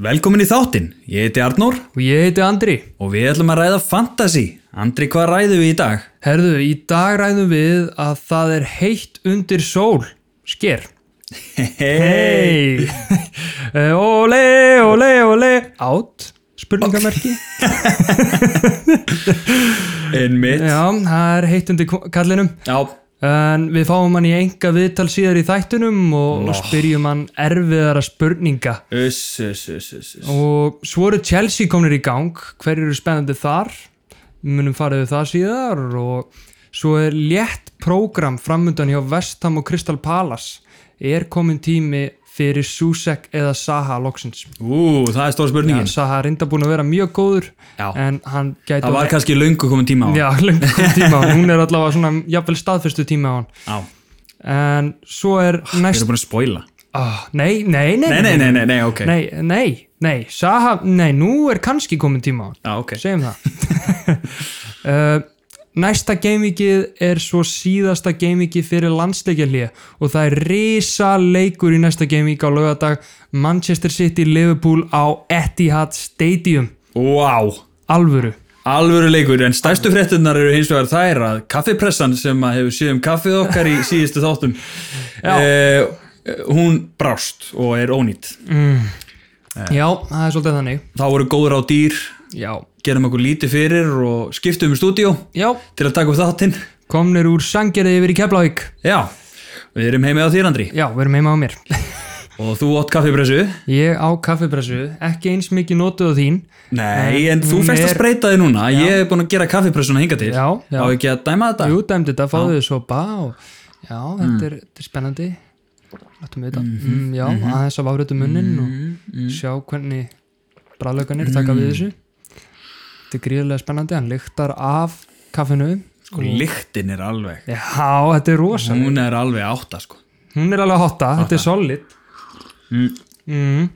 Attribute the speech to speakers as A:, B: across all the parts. A: Velkomin í þáttinn, ég heiti Arnór
B: Og ég heiti Andri.
A: og við ætlum að ræða fantasy. Andri, hvað ræðum við í dag?
B: Herðu, í dag ræðum við að það er heitt undir sól. Sker. Hei! Eh, Óle, óle, óle. Átt? Spurningamerki?
A: Einmitt.
B: Já, það er heitt undir ko- kallinum.
A: Já,
B: En við fáum hann í enga viðtal síðar í þættunum og, og spyrjum hann erfiðara spurninga.
A: uss, uss, uss, uss. uss.
B: Og svo eru Chelsea komnir í gang, hverju eru spennandi þar, við munum fara við það síðar og svo er létt prógram framöndan hjá Vestham og Crystal Palace, er komin tími fyrir Susek eða Saha loksins.
A: Ú, það er stóra
B: Ja,
A: spurningin.
B: Saha er reynda búin að vera mjög góður
A: Já.
B: en hann gæti
A: það var kannski löngu komin tíma á.
B: Já, löngu tíma á, hann. hún er allavega svona jafnvel staðfestu tíma á hann.
A: Já,
B: En svo er
A: Ah, við
B: næst...
A: erum búin að spoila.
B: Ah, nei, nei, nei,
A: Nei, nei, nei, nei, nei, ok.
B: nei, nei, nei, Saha, nei, nú er kannski komin tíma á hann.
A: Já, ok.
B: segjum það uh, næsta geimikið er svo síðasta geimikið fyrir landsleikjalið og það er risa leikur í næsta geimik á lögadag Manchester City Liverpool á Etihad Stadium
A: Vá,
B: alvöru
A: Eh. alvöru leikur, en stærstu fréttunar eru hins vegar þær að kaffipressan sem að hefur séð um kaffið okkar í síðustu þáttum, eh, hún brást og er ónýtt.
B: já, það er svolítið þannig
A: Þá voru góður á dýr,
B: já,
A: gerum okkur lítið fyrir og skiptum um stúdíó
B: já,
A: til að taka upp þáttinn.
B: komnir úr sangerði yfir í Keflavík
A: Já, við erum heimið á þér Andri
B: já, við erum heima á mér
A: og þú átt kaffipressu.
B: ég á kaffibressu, ekki eins mikið notuð á þín
A: Nei,
B: Nei,
A: en þú
B: hún
A: fæst að
B: er-
A: spreita þig núna. Ég hef búin að gera kaffipressuna hinga til.
B: Já, já.
A: Á ekki að dæma þetta?
B: Jú, dæmdi þetta, fáðu þið sopa og já,
A: Mm.
B: þetta, er, þetta er spennandi Láttum við þetta
A: Mhm,
B: mm, Já, aðeins að váruðu munnin og sjá hvernig bræðlauganir taka
A: Mm.
B: við þessu Þetta er gríðilega spennandi, hann lyktar af kaffinu
A: Sko, lyktin er alveg.
B: Já, þetta er rosa
A: Hún er alveg átta, sko.
B: Hún er alveg hotta, þetta er solid mm.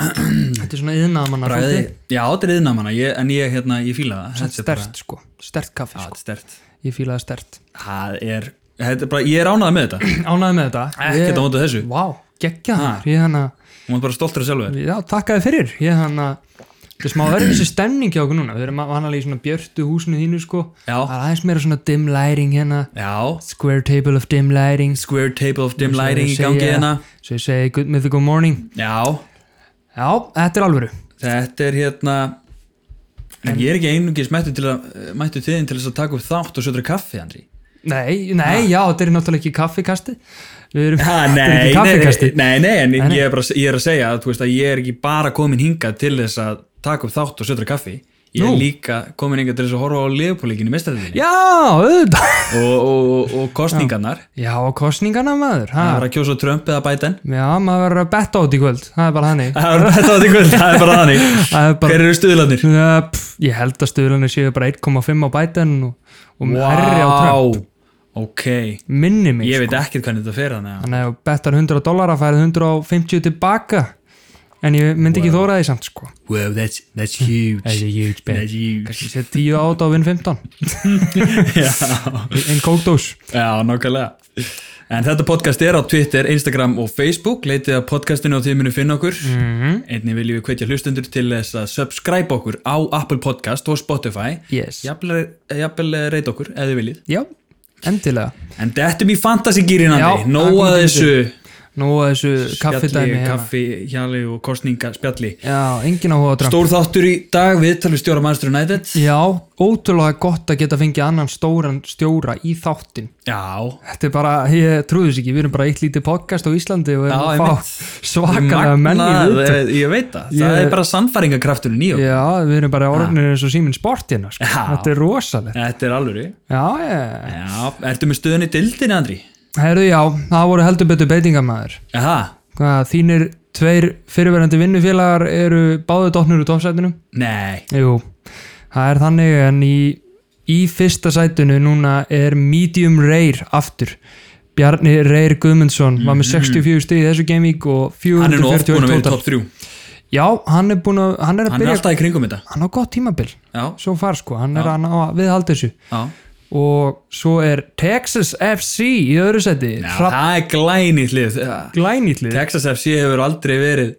B: Þetta er svona yðnaðamanna
A: Bræði. Já, þetta er yðnamanna, ég, en ég, hérna, ég fíla það. Þetta er bara-
B: Stert sko, stert kaffi
A: Já,
B: sko.
A: þetta er stert.
B: Ég fílaði stert
A: Það er, þetta er bara, ég er ánægð með þetta.
B: Ánæði með þetta
A: Ekkert á móti þessu.
B: Vá, geggja það Ég hérna- hann að
A: Hún er bara stoltur af sjálfu þér.
B: Já, takkaði fyrir Ég hann að Það er smá öðruvísi stemning hjá okkur núna Við erum vanalega í svona björtu húsinu þínu sko Það
A: Já,
B: er aðeins meira svona dim lighting hérna
A: já.
B: Square table of dim lighting sko.
A: Square table of dim
B: Svo
A: lighting í
B: ég
A: gangi
B: segja-
A: hérna.
B: Svo ég segi good mythical morning
A: Já,
B: Já, þetta er alvöru
A: Þetta er hérna En ég er ekki einungis mættu til að mættu til þín til þess að taka upp þátt og sötra kaffi, Andri
B: Nei, nei, já, þetta er náttúrulega ekki kaffikasti Við erum
A: ha,
B: Þetta er ekki kaffikasti
A: nei, nei, en Ég, er bara, ég er að segja að, þú veist, að ég er ekki bara komin hingað til þess að taka upp þátt og sötra kaffi Ég er
B: Nú.
A: líka komin hingað til þess að horfa á leifupólikinu mestarðinni
B: Já, auðvitað
A: og, og, og, og kostningarnar
B: Já, og kostningana maður ha.
A: Það var að kjósa Trump eða Biden
B: Já, maður verður að betta át í kvöld Það er bara hannig
A: Það var- þetta var því kvöld, það er bara þannig
B: Það er bara
A: Hver eru stuðlanir?
B: Uh, pff, ég held að stöðlunni séu bara 1,5 á bætan og, og wow. herri á Trump
A: ok
B: minni mig
A: Ég
B: sko.
A: veit ekkert hvernig þetta fer þannig að
B: þannig að ef þú bettar 100 dólar að færið 150 tilbaka en ég myndi ekki þóra því samt sko
A: Wow, that's, that's huge
B: That's a huge bet.
A: That's huge
B: kannski sé 10 át á vinn 15
A: Já,
B: en kókdós
A: já nákvæmlega En þetta podcast er á Twitter, Instagram og Facebook Leitið að podcastinu og þið munu finna okkur
B: Mhm.
A: Einnig viljum við hvetja hlustundur til þess að subscribe okkur á Apple Podcast og Spotify
B: yes. já.
A: Jafnvel jafnvel, eh, reyta okkur, ef þið viljið
B: endilega
A: En þetta er mjög fantasygýrin
B: Já,
A: Andri, nóg
B: það
A: að
B: kom
A: þessu
B: nú að þessu kaffidæmi
A: spjalli,
B: hérna.
A: kaffi, hjali og kostninga spjalli
B: já, engin áhuga á Trump
A: Stór þáttur í dag, við talum stjóra Manchester United
B: já, ótrúlega gott að geta fengið annan stóran stjóra í þáttin
A: Já,
B: Þetta er bara, ég trúðu þess ekki, við erum bara eitt lítið podcast á Íslandi og
A: Já,
B: erum að
A: einmitt.
B: fá svakalega menn í
A: Magnað,
B: viðtöl.
A: eh, Ég veit það, það
B: Ég-
A: er bara sannfæringakrafturinn í okkur
B: Já, við erum bara orðinir eins og síminn sportina, sko.
A: Já.
B: þetta er rosalegt.
A: Þetta er alvöru
B: Já, ég,
A: Já, ertu með stöðun í dildinni, Andri?
B: herðu já, það voru heldur betur beitingamæður.
A: Aha,
B: Hvað, þínir tveir fyrirverandi vinnufélagar eru báðu dottnur úr toppsætinu?
A: nei
B: Jú, það er þannig en í, í fyrsta sætinu núna er medium rare aftur. Bjarni Reyr Guðmundsson var með 64 stig í þessu gaming og
A: Mhm. Hann er nú oft
B: 441
A: búin að vera í
B: total.
A: topp 3
B: Já, hann er búin að, hann er að
A: Hann er
B: byrja,
A: alltaf í kringum þetta
B: hann á gott tímabil,
A: Já,
B: svo far sko, hann er að, ná að viðhalda þessu.
A: já
B: Og svo er Texas FC í öðru seti,
A: Já,
B: hrapp
A: það er glænýtt lið
B: glænýtlið.
A: Texas FC hefur aldrei verið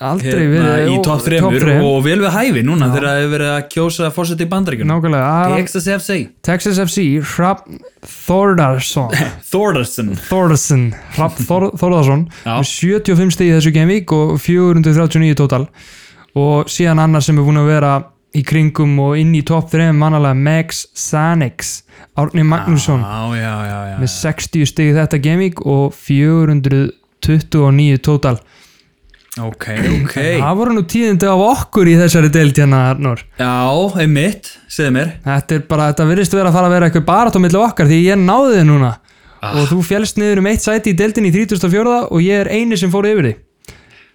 B: aldrei
A: hérna,
B: verið
A: í
B: ó,
A: topp
B: topp
A: 3
B: þrem.
A: og vel við hæfi núna þegar það hefur verið að kjósa fórseti í bandaríkjunum
B: nákvæmlega að-
A: Texas FC,
B: Texas FC, Hrafn Þórðarsson
A: Thorderson
B: Þórðarsson Hrafn Þór- Þórðarsson
A: Já.
B: með 75 stig í þessu genvík og 439 tótal og síðan annar sem er búin að vera í kringum og inn í topp 3 mannalega Max Sanix Árni Magnússon
A: Já, já, já, já,
B: með 60 stig í þetta genvík og 429 tótal
A: já Ok, ok
B: það voru nú tíðindi af okkur í þessari deild hérna Arnur
A: Já, einmitt, segðu mér
B: Þetta er bara, þetta virðist vera að fara að vera eitthvað barat á milli okkar því ég náði þið núna
A: Ah.
B: og þú fjælst niður um eitt sæti í deildin í 34 og ég er eini sem fór yfir því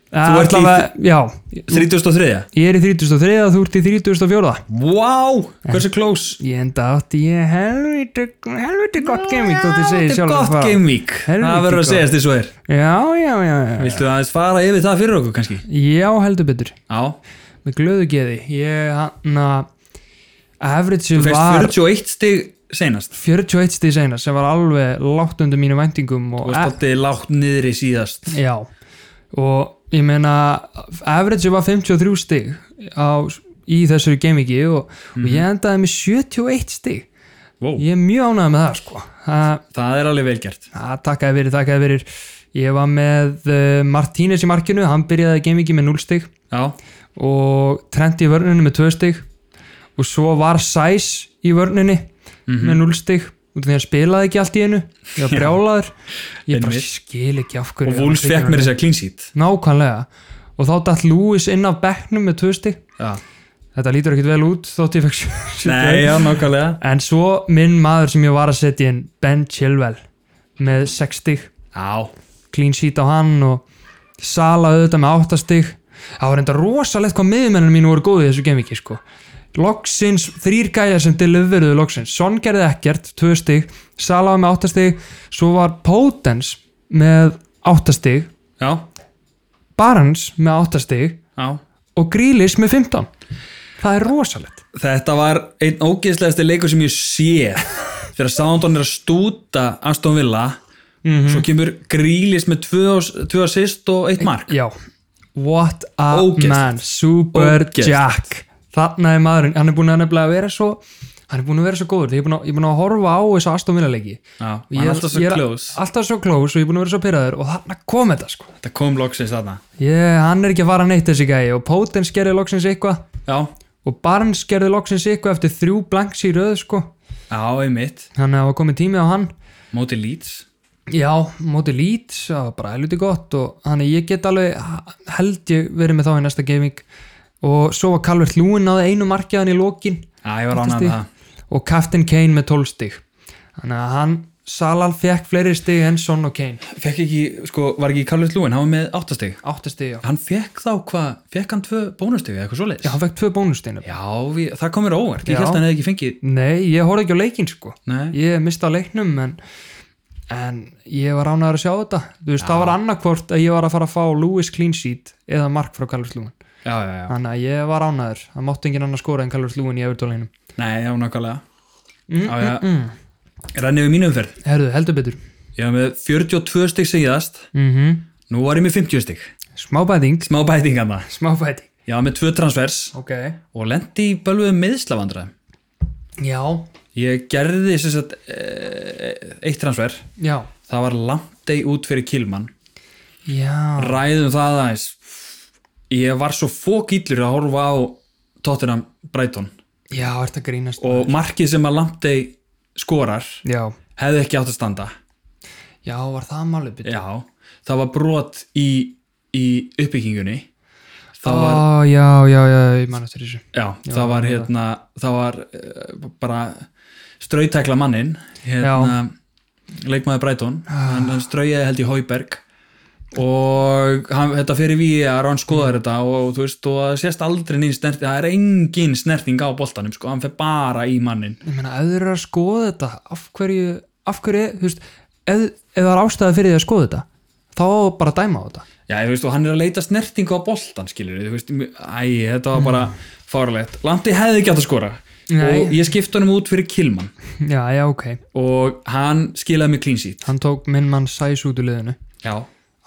A: Þú ert í-
B: í Já,
A: 33
B: ég er í 33 og þú ert í 34
A: Vá, wow,
B: Eh.
A: hversu klós
B: Ég enda átti ég helviti helviti gott gaming þótt ég
A: þetta
B: segi
A: er
B: sjálf
A: gott gamevík
B: Helvíti
A: Það verður að
B: gott. Eh.
A: segjast því svo er
B: Já, já, já, já
A: Viltu aðeins fara yfir það fyrir okkur kannski?
B: Já, heldur betur
A: Já,
B: með glöðu geði ég hann að average
A: þú feist
B: var
A: 41 stig senast
B: 41 stíð seinast sem var alveg látt undir mínu væntingum
A: Þú
B: og eh.
A: varst alltaf lágt niðri síðast
B: Já, og ég meina average var 53 stig á, í þessari gameingi og,
A: Mhm.
B: og ég endaði með 71 stig
A: wow.
B: ég er mjög ánægð með það sko Það-
A: Það er alveg velgjart
B: það takkaði verið, takkaði verið ég var með uh, Martínez í markinu hann byrjaði gamingi með 0 stig
A: Já,
B: og Trent í vörnunni með 2 stig og svo var Sæs í vörnunni
A: Mhm.
B: með 0 stig út af því að hann spilaði ekki allt í einu ég var brjálaður ég bara
A: Einmitt.
B: skil ekki af hverju
A: og Wolves
B: hann
A: fekk mér
B: þykir hann
A: þess að clean sheet
B: Nákvæmlega og þá dætt Lewis inn af bekknum með tvö stig
A: Já.
B: þetta lítur ekkit vel út þótt ég fekk sjö- sjö
A: Nei,
B: stig.
A: já, nákvæmlega
B: en svo minn maður sem ég var að setja inn Ben Chilwell með 6 stig
A: Já,
B: clean sheet á hann og Sala auðvitað með 8 stig það var enda rosalegt hvað miðmenninu mínu voru góði þessu gemviki sko Loksins, þrýr gæjar sem deliveruðu Loksins, Son gerði ekkert, 2 stig Sala var með 8 stig svo var Potence með 8 stig
A: já,
B: Barnes með 8 stig
A: já
B: og Grílis með 15 það er rosalegt
A: Þetta var einn ógeðslegasti leikur sem ég sé þegar Soundon er að stúta Aston Villa
B: Mhm.
A: svo kemur Grílis með tvö, ass- tvö assist og eitt mark
B: já, what a
A: Ógeðslegt.
B: man super
A: Ógeðslegt.
B: jack þarna er maðurinn, hann er búin að nefnilega vera svo hann er búin að vera svo góður, ég er búin að, ég er búin að horfa á þessu Aston Villa leiki
A: Já,
B: Og
A: hann er alltaf svo
B: ég
A: close.
B: alltaf svo close og ég er búin að vera svo pyrraður og þarna kom þetta sko
A: Þetta kom loksins þarna
B: ég, hann er ekki að fara neitt þessi gæi og Potence gerði loksins eitthvað
A: Já,
B: og Barnes gerði loksins eitthvað eftir þrjú blanks í röð sko
A: já, einmitt
B: þannig að það var komið tími á hann
A: Móti Leeds
B: Já, móti Leeds, það var bara helviti gott og þannig ég get alveg held ég verið með þá í næsta gaming og svo var Calvert Lúin náði einu markjaðan í lokin
A: Já, ég var
B: Átta
A: ánað
B: stig.
A: með það
B: og Captain Kane með 12 stig þannig að hann, Salal fekk fleiri stig en Son og Kane,
A: Fekk ekki, sko, var ekki Carlos Lúin, hann var með áttastig
B: 8 stig já,
A: Hann fekk þá hvað, fekk hann tvö bónustig eða eitthvað svoleiðis?
B: já hann fekk tvö bónustinu
A: Já, við, það kom mér á óvart, ég
B: Já.
A: held að hann hefði ekki fengið
B: Nei, ég horfði ekki á leikin sko
A: Nei,
B: ég misti á leiknum en, en ég var ránaður að sjá þetta þú veist, það var annarkvort að ég var að fara að fá Lewis Clean Sheet eða Mark frá Calvert Lúin
A: já, já, já,
B: Þannig að ég var ánæður. Það mátti engin annar skora en Calvert Lúin í Evertólinum.
A: nei, já, nákvæmlega
B: Mm,
A: Já, já, renni við mínum umferð
B: Herðu, heldur betur.
A: Ég var með 42 stig síðast
B: Mm
A: Nú var ég með 50 stig
B: Smá bæting.
A: Smá bætingarna
B: Smá bæting.
A: Ég var með tvö transfers
B: Ok.
A: Og lendi í bölvuðum meðslavandra
B: Já.
A: Ég gerði sem sagt eh, eitt transfer
B: Já.
A: Það var langt ei út fyrir Kilman
B: Já.
A: Ræðum það aðeins Ég var svo fókýllur að horfa á Tottenham Brighton
B: Já, ert að grínast.
A: Og markið sem að langt ei skorar
B: Já.
A: Hefði ekki átt að standa
B: Já, var það málið betur.
A: Já, það var brot í, í uppbyggingunni Það var
B: Ó, já, já, já, ég man eftir þessu.
A: Já, það var hérna, það var uh, bara strautekla mannin hérna, leikmaður Breitón hann, hann straujaði held í Hauberg og hann, þetta fyrir við að hann skoðar þetta og þú veist og það sést aldrei neins snerting, það er engin snerting á boltanum sko, hann fer bara í mannin
B: Ég meina, ef þeir eru að skoða þetta, af hverju, af hverju, þú veist, ef, ef það er ástæða fyrir því að skoða þetta, þá á bara að dæma á þetta.
A: Já, þú veist, og hann er að leita snertingu á boltan, skilur þú veist, mj- æ, þetta var bara fárlegt. Landi hefði ekki átt að skora
B: Nei.
A: og ég skipti honum út fyrir Kilman
B: Já, já, ok.
A: og hann skilaði mig clean sheet.
B: Hann tók minn mann sæs út úr liðinu.
A: Já,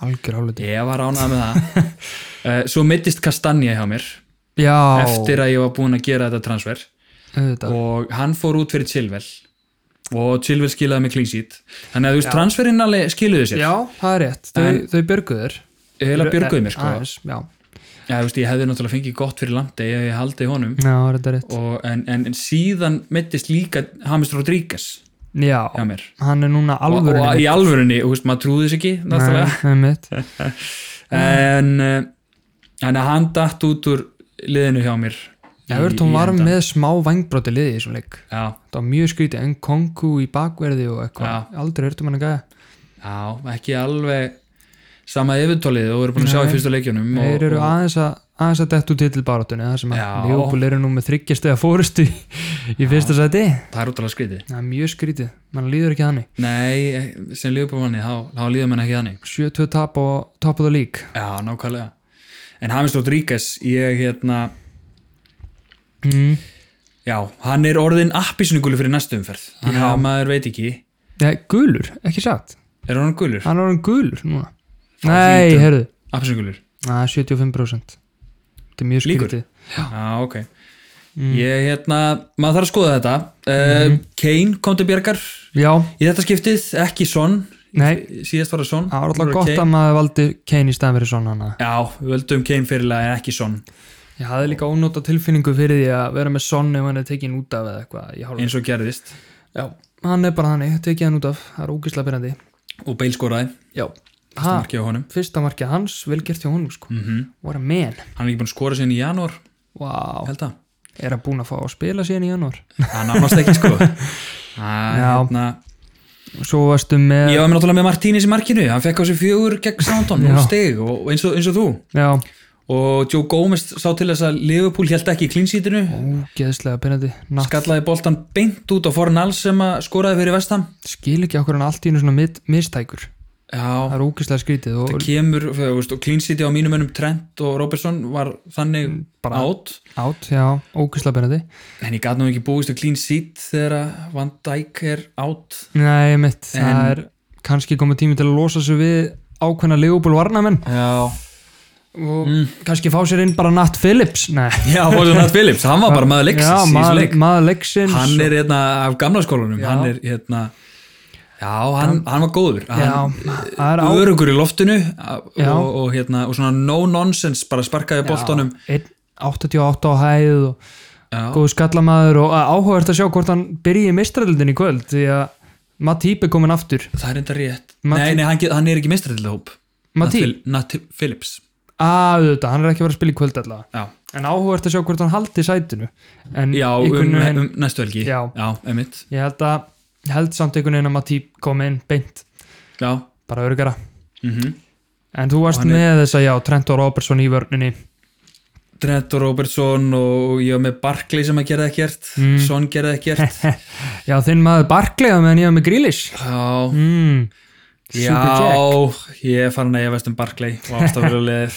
B: algjör álöti
A: Ég var ánað með það Eh, Svo mittist Kastanja hjá mér
B: já,
A: eftir að ég var búinn að gera þetta transfer
B: auðvitað.
A: og hann fór út fyrir Chilwell og Chilwell skilaði með clean sheet þannig að þú veist, transferinn alveg skiluðu sér
B: já, það er rétt, þau,
A: En-
B: þau björguður
A: heila björguðu mér sko já,
B: aðeins, já,
A: þú veist, ég hefði náttúrulega fengið gott fyrir landi ef ég haldi honum
B: já, þetta er rétt
A: og, en, en, en síðan mittist líka Hamis Rodríguez
B: já,
A: hjá mér
B: hann er núna
A: og,
B: alvöru
A: og í alvörunni, þú veist, maður trúði þess ekki náttúrulega
B: náttúrulega
A: en eh, þannig að hann datt út úr liðinu hjá mér í-
B: Evertón
A: í
B: var
A: endan.
B: með smá vangbróti liði í þessum leik
A: já,
B: það var mjög skrítið, en Kongu í bakverði og eitthvað, aldrei hörtum hann að gæða
A: Já, ekki alveg sama yfirtólið og við erum búin að sjá í
B: Nei.
A: fyrstu leikjunum og,
B: þeir eru
A: og,
B: aðeins að aðeins að dettu titilbarátunni það sem að
A: Já.
B: Leopold eru nú með þryggjast eða fórustu í, í fyrsta sæti
A: það er útrúlega skrítið
B: það er mjög skrítið, mann líður ekki þannig
A: Nei, eh, sem lífbúrmanni, þá, þá líður mann ekki þannig
B: 7-2 tap og top of the league
A: Já, nákvæmlega En Hamis Rodríguez, ég hérna
B: mm.
A: Já, hann er orðin appisnugulu fyrir næstu umferð Þannig
B: Já.
A: að maður veit ekki
B: ja, gulur, ekki satt
A: Er hann gulur?
B: hann er orðin gulur núna
A: Frá
B: nei,
A: hlítum.
B: heyrðu,
A: Appisnugulur?
B: Næ, 75% þetta er mjög
A: Líkur?
B: skrítið
A: Já, ok
B: Mm.
A: Ég hérna, maður þarf að skoða þetta mm.
B: Mhm.
A: Kane kom til Bjargar
B: já,
A: Í þetta skiptið, ekki Son
B: nei,
A: Síðast var það Son
B: það var
A: Nú
B: alltaf
A: er
B: gott
A: Kane.
B: að maður valdi Kane í staðan fyrir svona hana
A: Já, við völdum Kane fyrirlega en ekki Son
B: Ég hafði líka ónóta tilfinningu fyrir því að vera með sonn ef hann er tekin út af eða eitthvað í hálfleik.
A: eins og gerðist
B: Já, hann er bara þannig, tekið hann út af, það er ógislega byrjandi.
A: og Bale skoraði
B: Já. Ha,
A: fyrsta markið á honum
B: fyrsta markið hans, vel gert hjá honum sko. Mm -hmm. What a man.
A: hann er ekki búin að skora síðan í janúar
B: Vá.
A: held að,
B: Er hann búin að fá að spila síðan í janúar?
A: hann nánast ekki sko að,
B: Já.
A: hérna,
B: Svo varstu með...
A: ég var með náttúrulega með Martínis í markinu hann fekk á sig fjögur gegn Soundon
B: Já.
A: og steg og og eins og, eins og þú
B: Já,
A: og Joe Gomez sá til þess að Liverpool held ekki í klinsítinu
B: ógeðslega byrjandi. Natt.
A: skallaði boltan beint út á Fornal sem að skoraði fyrir vestam
B: Skil ekki okkur hann allt í einu svona mid, mistækur.
A: já,
B: Það er ógeðslega skrítið og
A: það kemur þú veist, og klinsíti á mínum önum Trent og Robertson var þannig
B: Mm, bara
A: átt
B: átt, já, ógeðslega byrjandi.
A: en ég gat nú ekki búist að clean seat þegar að Van Dijk er átt
B: Nei, mitt, það
A: En-
B: er kannski komið tími til að losa sig við ákveðna legubúl varnamenn.
A: já
B: og
A: Mm.
B: kannski fá sér inn bara Nat Phillips Nei.
A: Já, Fósun Hatt Phillips, hann var bara maður leiksins
B: já,
A: í þessum
B: maður,
A: leik.
B: maður leiksins
A: Hann er hérna af gamla skólanum, hann er hérna Já, hann, hann var góður
B: já,
A: hann,
B: það er á
A: Örugur í loftinu og,
B: Já.
A: og, hérna, og svona no-nonsense bara sparkaði boltanum
B: einn 88 á hæð og
A: Já.
B: góð skallamaður og að áhugavert að sjá hvort hann byrji mistræðildin í kvöld því að Matip er komin aftur
A: Það er enda rétt
B: Matti-
A: Nei, nei, hann, get- hann er ekki mistræðilega hóp
B: Matip,
A: Natt Phillips
B: að auðvitað, hann er ekki að vera að spila í kvöld allavega
A: Já,
B: en áhugavert að sjá hvort hann haldi sætinu en
A: já um,
B: einhvern veginn-
A: um næstu helgi
B: Já.
A: emitt
B: ég held að, ég held samt einhvern veginn að Matip komi inn beint,
A: Já,
B: bara örgara
A: mhm
B: en þú varst
A: Og hann
B: með þess að já, Trent og Robertson í vörninni
A: Trent og Robertson og ég var með Barkley sem að gera ekkert mm. Son gera ekkert
B: Já, þinn maður Barkley að meðan ég var með Grealish
A: Já,
B: mm.
A: já ég er farin að ég veist um Barkley og ástafurlegið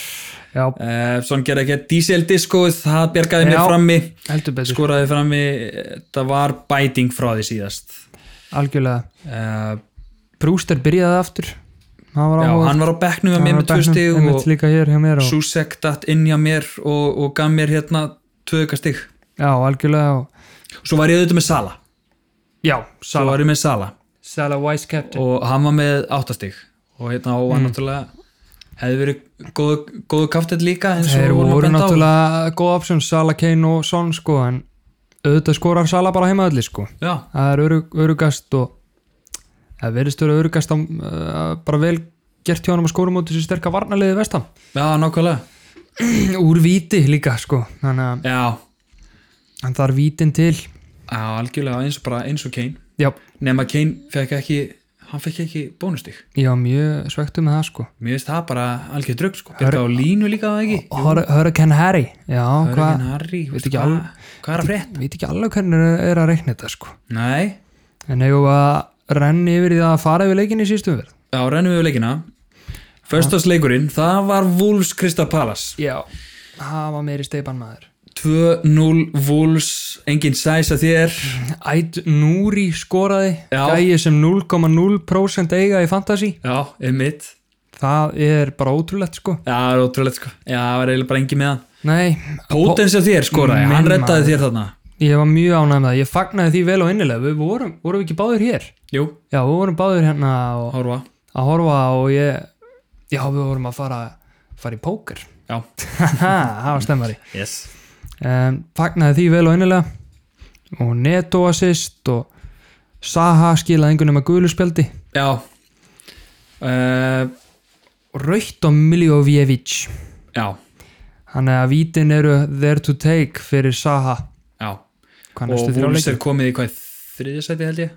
B: Já,
A: uh, Son gera ekkert Diesel Disco, það bergaði mér
B: Já.
A: frammi
B: heldur betur
A: skoraði frammi eh, það var bæting frá því síðast
B: Algjörlega
A: uh,
B: Brewster byrjaði aftur Hann var
A: Já,
B: áhuga
A: hann var á bekknum með mér með tvö stig og
B: líka hér hjá mér og,
A: Susek datt inn hjá mér og, og gaf mér hérna tvöka stig
B: Já, algjörlega og,
A: Svo var ég auðvitað með Sala
B: Já,
A: Svo
B: Salah
A: var ég með Sala
B: Salah Wise Captain
A: og hann var með áttastig og hérna og var náttúrulega hefði verið góð, góðu kaftið líka eins og
B: Þeir
A: við vorum að
B: voru
A: benda á.
B: náttúrulega góð option Salah, Kane og Son sko en auðvitað skorar Salah bara heima öllu sko
A: já,
B: Það er örug- örugast og það verðist verið örugast á, uh, bara vel gert hjá hann að skóra móti sér sterka varnarliði vestam
A: já, nákvæmlega
B: úr víti líka sko þannig að
A: já,
B: hann þarf vítin til
A: já, algjörlega eins og bara eins og Kane
B: já,
A: nema Kane fekk ekki hann fekk ekki bónustig
B: ég var mjög svektu með það sko
A: mér finnst það bara algjör drögg sko byrja á línu líka var það ekki
B: Hur- Hurricane Harry já, hvað,
A: Örgin Harry,
B: veit
A: veist
B: ekki
A: hvað
B: alveg-
A: hvað er að frétt?
B: veit ekki alveg hvernig er, er að reikna þetta sko
A: nei,
B: en hefur að renni yfir í það að fara yfir leikin í sístum verð
A: já, rennum við leikina Föstasleikurinn, það var Wolves Krista Palace
B: já, það var meiri steipan maður
A: 2-0 Wolves, engin sæs að þér
B: Æt Núri skoraði
A: Já.
B: gæi sem 0,0% eiga í fantasy
A: já, emitt
B: það er bara ótrúlegt sko
A: Já, það er ótrúlegt sko. Já, það var eiginlega bara engin með það.
B: nei,
A: Potens af þér skoraði, hann
B: Minn
A: rettaði
B: maður.
A: þér þarna.
B: ég var mjög ánægð með það ég fagnaði því vel og innilega, við vorum, vorum við ekki báður hér
A: Jú,
B: já, við vorum báður hérna og,
A: horfa.
B: að horfa og ég já, við vorum að fara, fara í póker
A: Já.
B: haha, það var stemmari
A: Yes.
B: um, fagnaði því vel og innilega og Neto assist og Saha skilaði einhvern veginn með guðluspjaldi
A: Já. Uh,
B: og Raut og Miljovievich
A: já,
B: hann er að vítin eru there to take fyrir Saha
A: já. Og
B: hvað næstu þrjá
A: Wolves
B: leikir
A: er komið í hvað þriðisæti held ég?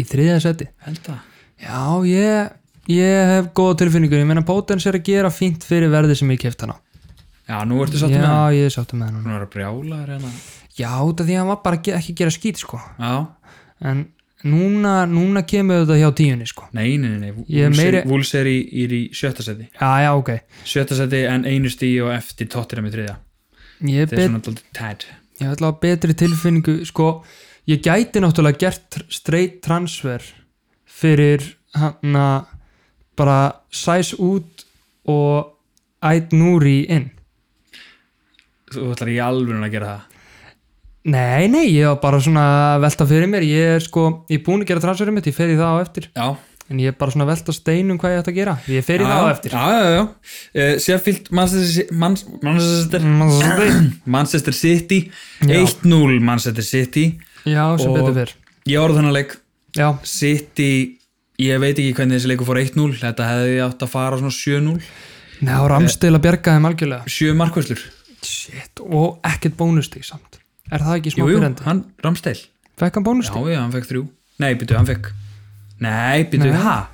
B: í þriðja seti
A: Held það.
B: já ég, ég hef góða tilfinningur ég meina Potens er að gera fínt fyrir verði sem ég keft hann á
A: Já, nú ertu satt með hann.
B: já ég er sáttu með hann núna.
A: Hún var að brjála þér hérna.
B: já út af því að hann var bara ekki, ekki að gera skít sko
A: Já.
B: en núna, núna kemur þetta hjá tíunni sko
A: Nei, nei, nei, nei.
B: Ég er
A: Wolves er-
B: meiri-
A: Wolves er í, er í sjötta seti.
B: já já ok
A: Sjötta seti en einu stíu og eftir tóttina með þriðja.
B: ég er
A: Þetta er
B: bet,
A: svona alltaf tætt.
B: ég hef alltaf betri tilfinningu sko ég gæti náttúrulega gert tr- straight transfer fyrir hann að bara sæs út og ætt núri inn
A: Þú ætlar í alveg að gera það.
B: nei nei ég var bara svona að velta fyrir mér ég er sko ég er búin að gera transferið mitt ég fer í það á eftir
A: Já,
B: en ég er bara svona að velta steinum hvað ég ætti að gera ég fer í
A: já,
B: það á eftir
A: já, já, já. Uh, Sheffield Manchester, Man- Manchester, Manchester City
B: Já.
A: 1-0 Manchester City
B: já sem
A: Og-
B: betur fyrr
A: ég orði þannig að leik
B: já
A: City, ég veit ekki hvernig þessi leiku fór 1-0 þetta hefði átt að fara svona 7-0
B: Nei, og Ramsdale að bjarga þeim algjörlega
A: 7 markvörslur,
B: Shit, og ekkert bónustík samt Er það ekki smá
A: jú, jú,
B: byrjandi?
A: hann Ramsteil,
B: Fekk hann
A: já,
B: bónustík?
A: já, hann fekk 3 nei, byrju, hann fekk nei, byrju,
B: Nei.
A: ha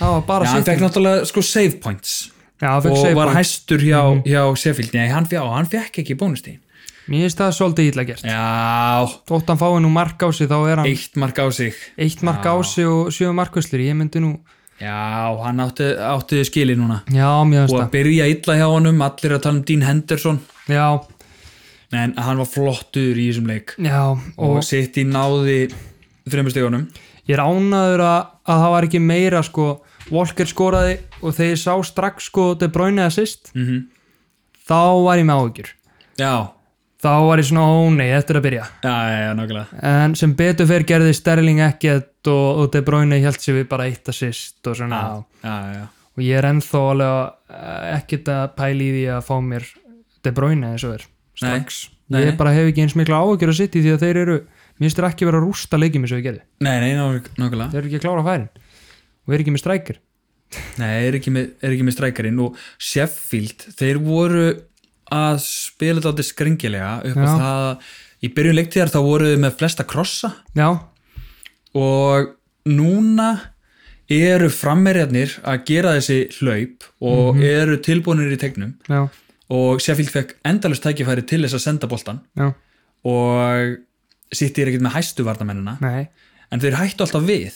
B: Það var bara
A: já, hann
B: City.
A: fekk náttúrulega sko save points
B: Já, hann fekk
A: og
B: save Mhm.
A: var
B: point.
A: hæstur hjá, hjá Sheffield, nei, hann, já, hann fekk ekki bónustíðin,
B: Mér finnst það svolítið illa gert
A: já,
B: Þótt hann fái nú mark á sig þá er hann
A: eitt mark á sig
B: Eitt mark á sig og sjö markvöslur Ég myndi nú
A: Já, hann átti, átti skili núna
B: Já, mér finnst
A: og að byrja illa hjá honum, allir að tala um Dean Henderson
B: það Já,
A: en hann var flottur í þessum leik
B: já
A: og,
B: og
A: sitt í náði þreymur stegunum
B: ég er ánaður að, að það var ekki meira sko Walker skoraði og þegar ég sá strax sko De Bruyne assist
A: mm
B: þá var ég með áhyggjur
A: Já,
B: Þá var ég svona ó nei, þetta er að byrja
A: já, já, já, nákvæmlega
B: en sem betur fyrir gerði Sterling ekkert og, og De Bruyne held sér við bara eitt assist og svona
A: Já, já, já,
B: og ég er ennþá alveg eh, ekkert að pæla í því að fá mér De Bruyne eins og er strax
A: Nei,
B: ég
A: nei.
B: bara hef ekki eins mikla áhugjur að sitt í því að þeir eru mér finnst þeir ekki vera að rústa leikjum eins og ég gerði
A: Nei, nei, ná- nákvæmlega
B: þeir eru ekki að klára færin og eru ekki með strækir
A: Nei, er ekki með, er ekki með strækarinn og Sheffield, þeir voru að spila þetta skringilega upp á
B: Já.
A: það að í byrjun leiktíðar þá voru þau með flesta krossa
B: já,
A: og núna eru frammerjarnir að gera þessi hlaup og eru tilbúinir í tegnum
B: já,
A: og Sheffield fekk endalust tækifæri til þess að senda boltan
B: já,
A: og City er ekkert með hæstu varnamennina
B: nei
A: en þeir hættu alltaf við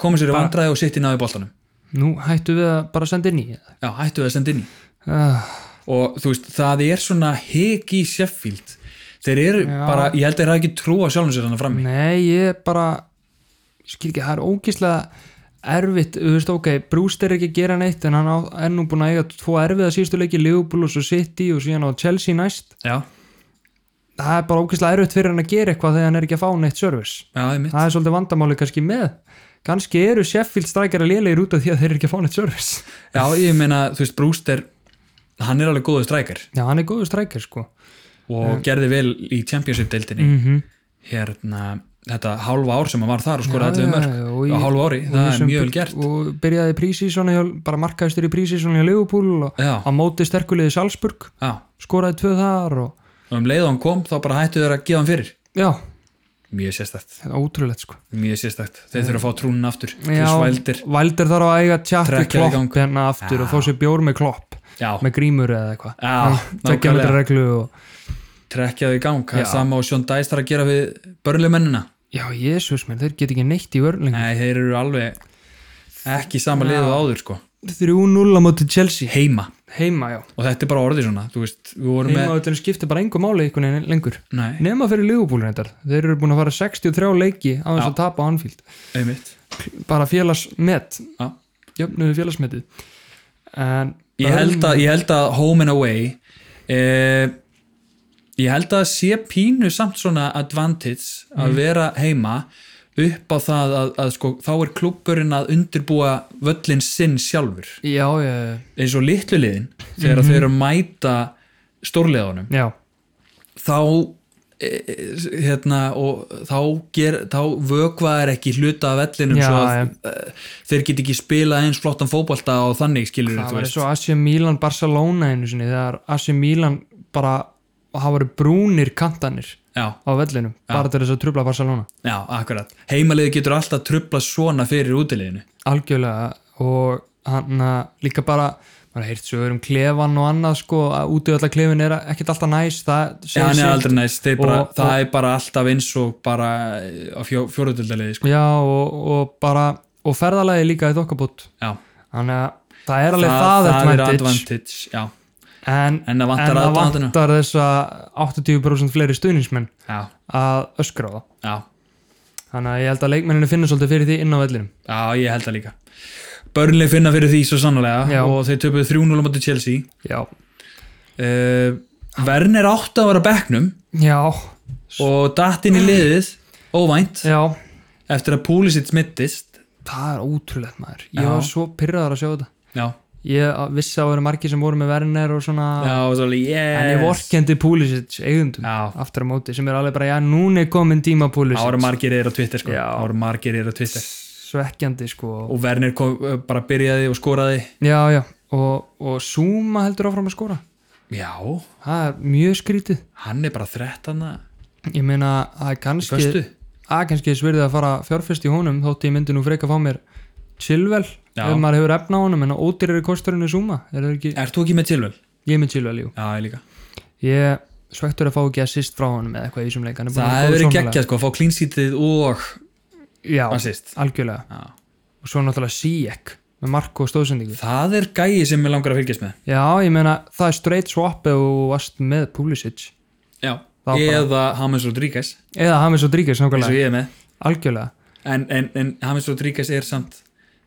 A: komið sér í
B: Bara-
A: vandræði og City náði boltanum
B: nú hættu við að bara senda inn í
A: já, hættu við að senda inn í
B: uh,
A: og þú veist, það er svona hik í Sheffield þeir eru
B: Já.
A: bara, ég held að þeir hafa ekki trúa sjálfum sér þannig frammi
B: Nei, ég bara skil ekki, það er ógíslega erfitt, þú veist, ok, Brewster er ekki að gera neitt en hann á, er nú búin að eiga tvo erfiða síðustu leiki, Liverpool og svo City og síðan á Chelsea næst,
A: já,
B: það er bara ógíslega erfitt fyrir hann að gera eitthvað þegar hann er ekki að fá neitt service
A: já, það er mitt
B: það er svolítið vandamáli kannski með kannski eru Sheffield strækjara lélegir út af því að þeir eru ekki að fá neitt service
A: já, ég meina, þú veist, Brewster hann er alveg góðu strækar
B: Já, hann er góður strækjar sko
A: og gerði vel í Championship-deildinni
B: -hmm.
A: hérna, þetta hálfa ár sem hann var þar og skoraði
B: Já,
A: allir mörg
B: já, já, og
A: á
B: ég-
A: hálfa ári,
B: og
A: það
B: ég
A: er
B: sem
A: mjög vel
B: by-
A: gert
B: og byrjaði prísísona, bara markaðistur í prísísona hjá Liverpool og
A: já,
B: á móti sterkulegði Salzburg
A: já,
B: skoraði tvö þar og
A: og um leið og hann kom þá bara hættu þeir að gefa hann fyrir
B: já,
A: mjög sérstætt,
B: þetta er ótrúlegt sko
A: mjög sérstætt þeir þurfa að fá trúnin aftur,
B: Já,
A: Chris Wilder
B: Wilder þarf að eiga tjatti
A: Trekkja í gang.
B: klopp hérna aftur og fá sér bjór með klopp
A: já,
B: með grímur eða eitthvað
A: Já,
B: tvekja
A: nákvæmlega.
B: metra reglu og
A: trekkjaðu í gang það er
B: Já.
A: sama og Sean Dice þarf að gera við börnleimennina,
B: já, jésus minn, þeir get ekki neitt í vörlingu
A: nei, þeir eru alveg ekki í sama liðið og áður sko
B: 3-0 á móti Chelsea
A: heima,
B: heima, já,
A: og þetta er bara orðið svona þú veist, við vorum
B: heima
A: með
B: þetta skiptir bara engu máli einhvern veginn lengur
A: nei,
B: nema fyrir Liverpool reyndar, þeir eru búin að fara 63 leiki á þess
A: Já.
B: að tapa á Anfield
A: einmitt
B: bara félagsmet
A: Já.
B: jöfnuðu félagsmetið en
A: Ég held að, ég held að Home and Away eh, ég held að sé pínu samt svona advantage
B: Mm.
A: að vera heima upp á það að, að sko, þá er klúpurinn að undirbúa völlin sinn sjálfur
B: já, já, já,
A: eins og litlu liðin
B: Mhm.
A: þegar þau eru að mæta stórliðunum
B: já,
A: þá eh, hérna og þá, ger, þá vökvaðar ekki hluta af vellinum
B: Já,
A: svo að eh, þeir get ekki spilað eins flottan fótbolta og þannig skilur
B: það var eins og Asi Milan Barcelona einu sinni þegar Asi Milan bara hafa verið brúnir kantanir
A: Já,
B: á vellinum, bara til þess að trubla Barcelona
A: já, akkurat heimaliði getur alltaf trubla svona fyrir útileginu
B: algjörlega og hann að líka bara maður heirt sögur um klefan og annað sko að út í alla klefin er ekkert alltaf næs það segir
A: Já, hann er
B: sig.
A: aldrei næst, þeir bara,
B: Og-
A: það er bara alltaf eins og bara eh, á fjó, fjóruðildaliði sko.
B: já og, og bara og ferðalagi líka í þokkabútt
A: Já,
B: þannig að það er alveg það,
A: er
B: advantage,
A: advantage Já,
B: en,
A: en það
B: en
A: vantar
B: það
A: aðdánatuna
B: vantar þessa 80% fleiri stuðningsmenn
A: Já,
B: að öskra á það
A: já,
B: þannig að ég held að leikmenninu finna svolítið fyrir því inn á vellinum
A: já, ég held það líka Börnleg finna fyrir því svo sannlega
B: Já.
A: og þeir töpuðu 3-0 á móti Chelsea
B: já,
A: uh, Werner átti að vera á bekknum
B: já,
A: og datt inn í liðið óvænt
B: já
A: eftir að Pulisic mittist
B: það er ótrúlegt maður ég
A: Já.
B: var svo pyrraðar að sjá þetta
A: Já,
B: ég vissi að það voru margir sem voru með Werner og svona
A: já, og svo alveg yes.
B: en ég vorkendi Pulisic eigundum
A: Já,
B: aftur á móti sem er alveg bara já núna er komin tíma Pulisic
A: það voru margir er á Twitter sko
B: Já.
A: Það voru margir er á Twitter
B: svekkjandi sko
A: og Werner kom, uh, bara byrjaði og skoraði
B: já já og, og Zuma heldur áfram að skora
A: Já,
B: það er mjög skrítið
A: hann er bara 13
B: ég meina það er kannski
A: Föstu
B: að kannski sverðið að fara fjárfyrst í honum þótt ég myndi nú freka að fá mér Chilwell
A: Já.
B: ef maður hefur efna á honum en ódýrari kosturinn er Zuma er það ekki
A: Ert þú ekki með tilvel?
B: ég er með Chilwell jú
A: Já, ég líka
B: ég svektur að fá ekki assist frá honum eða eitthvað í þessum leik hann er búinn
A: Það
B: að
A: hefur
B: vera
A: verið
B: góður
A: geggjað sko að fá klínsítið og
B: sóknarlega. já
A: assist
B: algjörlega
A: Já.
B: og svo náttúrulega Sijek með Marko stóðsendingu
A: Það er gæi sem ég langar að fylgjast með
B: já ég meina það er straight swap ef þú varst með Pulisic
A: Já,
B: Það var bara-
A: eða James Rodríguez
B: eða James Rodríguez
A: eins og
B: nákvæmlega
A: ég er með
B: algjörlega
A: en, en, en James Rodríguez er samt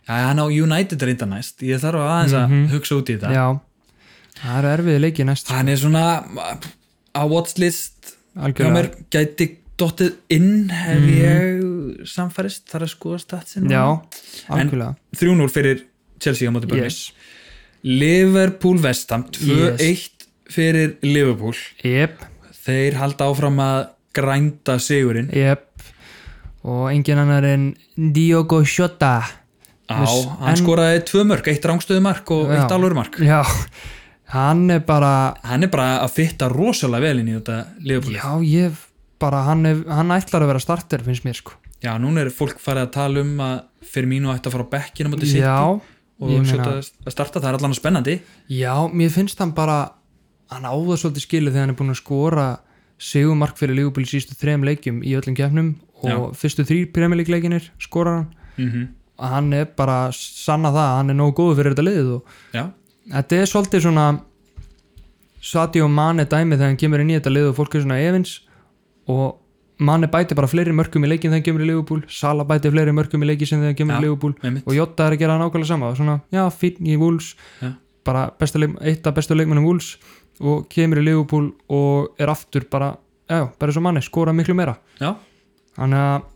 A: Já, hann á United reynda næst Ég þarf aðeins að hugsa út í þetta
B: já það eru erfiði leiki næst
A: Hann er svona á watchlist hjá
B: algjörlega Mhm.
A: mér gæti dottið inn hef ég samfærist þar að skoða statsin
B: já
A: 3-0 fyrir Chelsea á móti
B: algjörlega
A: Burnley
B: yes
A: Liverpool vestam 2-1 fyrir Liverpool
B: jep
A: þeir halda áfram að grænda sigurinn
B: jep og engin annar en Diogo Jota
A: á, hann skoraði tvö mörg, eitt rángstöðu mark og
B: Já.
A: eitt alvöru mark
B: já hann er bara
A: hann er bara að fitta rosalega vel inn í þetta Liverpool
B: já ég bara hann, er, hann ætlar að vera starter finnst mér sko
A: já, núna er fólk farið að tala um að Firmino ætti að fara á bekkinu á móti sitt
B: já ég
A: og
B: meina-
A: sjóta að starta, það er allan spennandi
B: Já, mér finnst hann bara hann áða svolítið skilið þegar hann er búin að skora sigumark fyrir Liverpool í sístu þrejum leikjum í öllum kefnum og fyrstu þrýr premjölíkleikinir skorar hann
A: mm
B: og hann er bara að sanna það að hann er nógu góður fyrir þetta liðið og
A: já,
B: þetta er svolítið svona Sadio Mane dæmi þegar hann kemur inn í þetta lið og fólk er svona evins og Mane bæti bara fleiri mörgum í leikin þegar hann kemur í Liverpool Sala bæti fleiri mörgum í leikin sem þegar hann kemur
A: Já.
B: í Liverpool
A: með mitt
B: og Jota er að gera nákvæmlega sama og svona, já, fínn í Wolves
A: Já.
B: bara besta leik, eitt af bestu leikmennum Wolves og kemur í Liverpool og er aftur bara, já, bara svo manni skora miklu meira,
A: já,
B: þannig að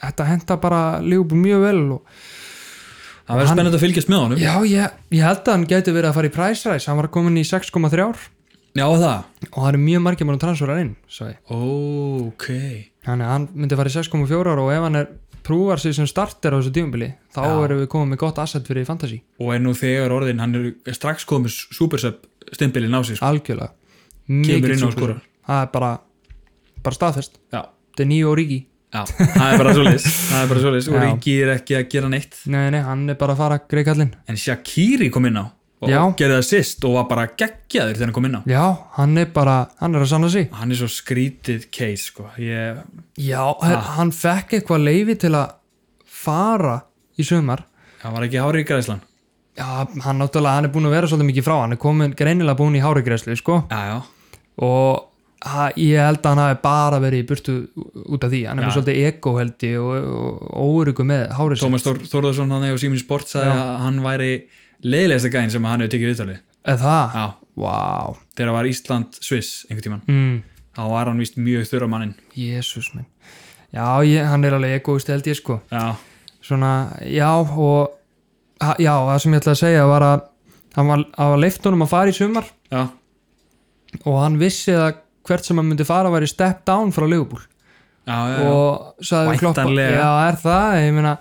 B: þetta henda bara Liverpool mjög vel og
A: það verður
B: Hann-
A: spennandi að fylgjast með honum
B: já, ég, ég held að hann gæti verið að fara í price rise, hann var komin í 6,3 ár
A: já það,
B: og það er mjög margir mörgum transferar inn sagði.
A: ok
B: þannig að hann myndi fara í 6,4 ár og ef hann er prúvar sig sem starter á þessu tífumbili þá
A: Já.
B: erum við komið með gott asset fyrir fantasy
A: og er nú þegar orðin, hann er strax komið supersub stimpilinn á sig sko.
B: algjörlega
A: kemur
B: Ah, Mikill
A: inn og
B: súper.
A: skorar.
B: það er bara, bara staðfest
A: já,
B: þetta er nýju og ríki
A: já, það er bara svo leis það er bara svo leis, og
B: Já.
A: Ríki er ekki að gera neitt
B: nei, nei, hann er bara að fara greikallinn
A: en Shakiri kom inn á og
B: Já.
A: gerði það sýst og var bara geggjaður þegar hann kom inn á
B: já, hann er bara, hann er að sanna sig
A: hann er svo skrítið case sko. ég,
B: já, ah. hann fekk eitthvað leifi til að fara í sömar
A: hann var ekki hárið í græslan
B: já, hann náttúrulega, hann er búin að vera svolítið mikið frá hann er komin greinilega búin í hárigreslu, sko
A: já, já,
B: og ha, ég held að hann hafi bara verið í burtu út af því, hann er með
A: Já.
B: svolítið ego held ég og, og, og óryggu með hárið sitt.
A: Tómas Þór, Þórðarsson hann og Simin Sport sagði að hann væri leiðilegasta gæðin sem hann hefur tekið viðtali
B: Eða það?
A: Já,
B: Vá.
A: þegar var Ísland-Sviss einhvern tíman
B: Mm.
A: þá var hann víst mjög þurra manninn
B: Jésús minn. Já, ég, hann er alveg egoist held ég sko.
A: Já,
B: Svona, já og ha- já, það sem ég ætla að segja var að hann var, hann var leift honum að fara í sumar
A: já,
B: og hann vissi að hvert sem hann myndi fara væri step down frá Liverpool
A: já, já, já.
B: og sagði við kloppa
A: Væntanlega.
B: já, er það, ég meina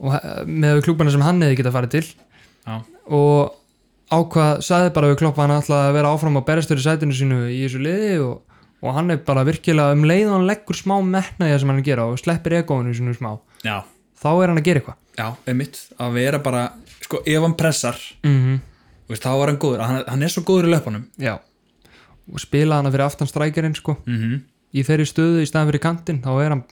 B: og, eh, með við klúbana sem hann hefði getað farið til
A: Já.
B: og ákvað sagði bara við kloppa hann ætlaði að vera áfram á berastöru sætinu sínu í þessu liði og, og hann er bara virkilega um leið og hann leggur smá metnaði sem hann er að gera og sleppir egóinu sínu smá
A: já,
B: þá er hann að gera eitthvað
A: já, einmitt að vera bara, sko ef hann pressar
B: mm
A: þú veist, þá var hann góður, hann, hann er svo góður í löpunum
B: já og spila hann fyrir aftan strækjarinn sko
A: mm
B: í þeirri stöðu í staðan fyrir kantinn þá er hann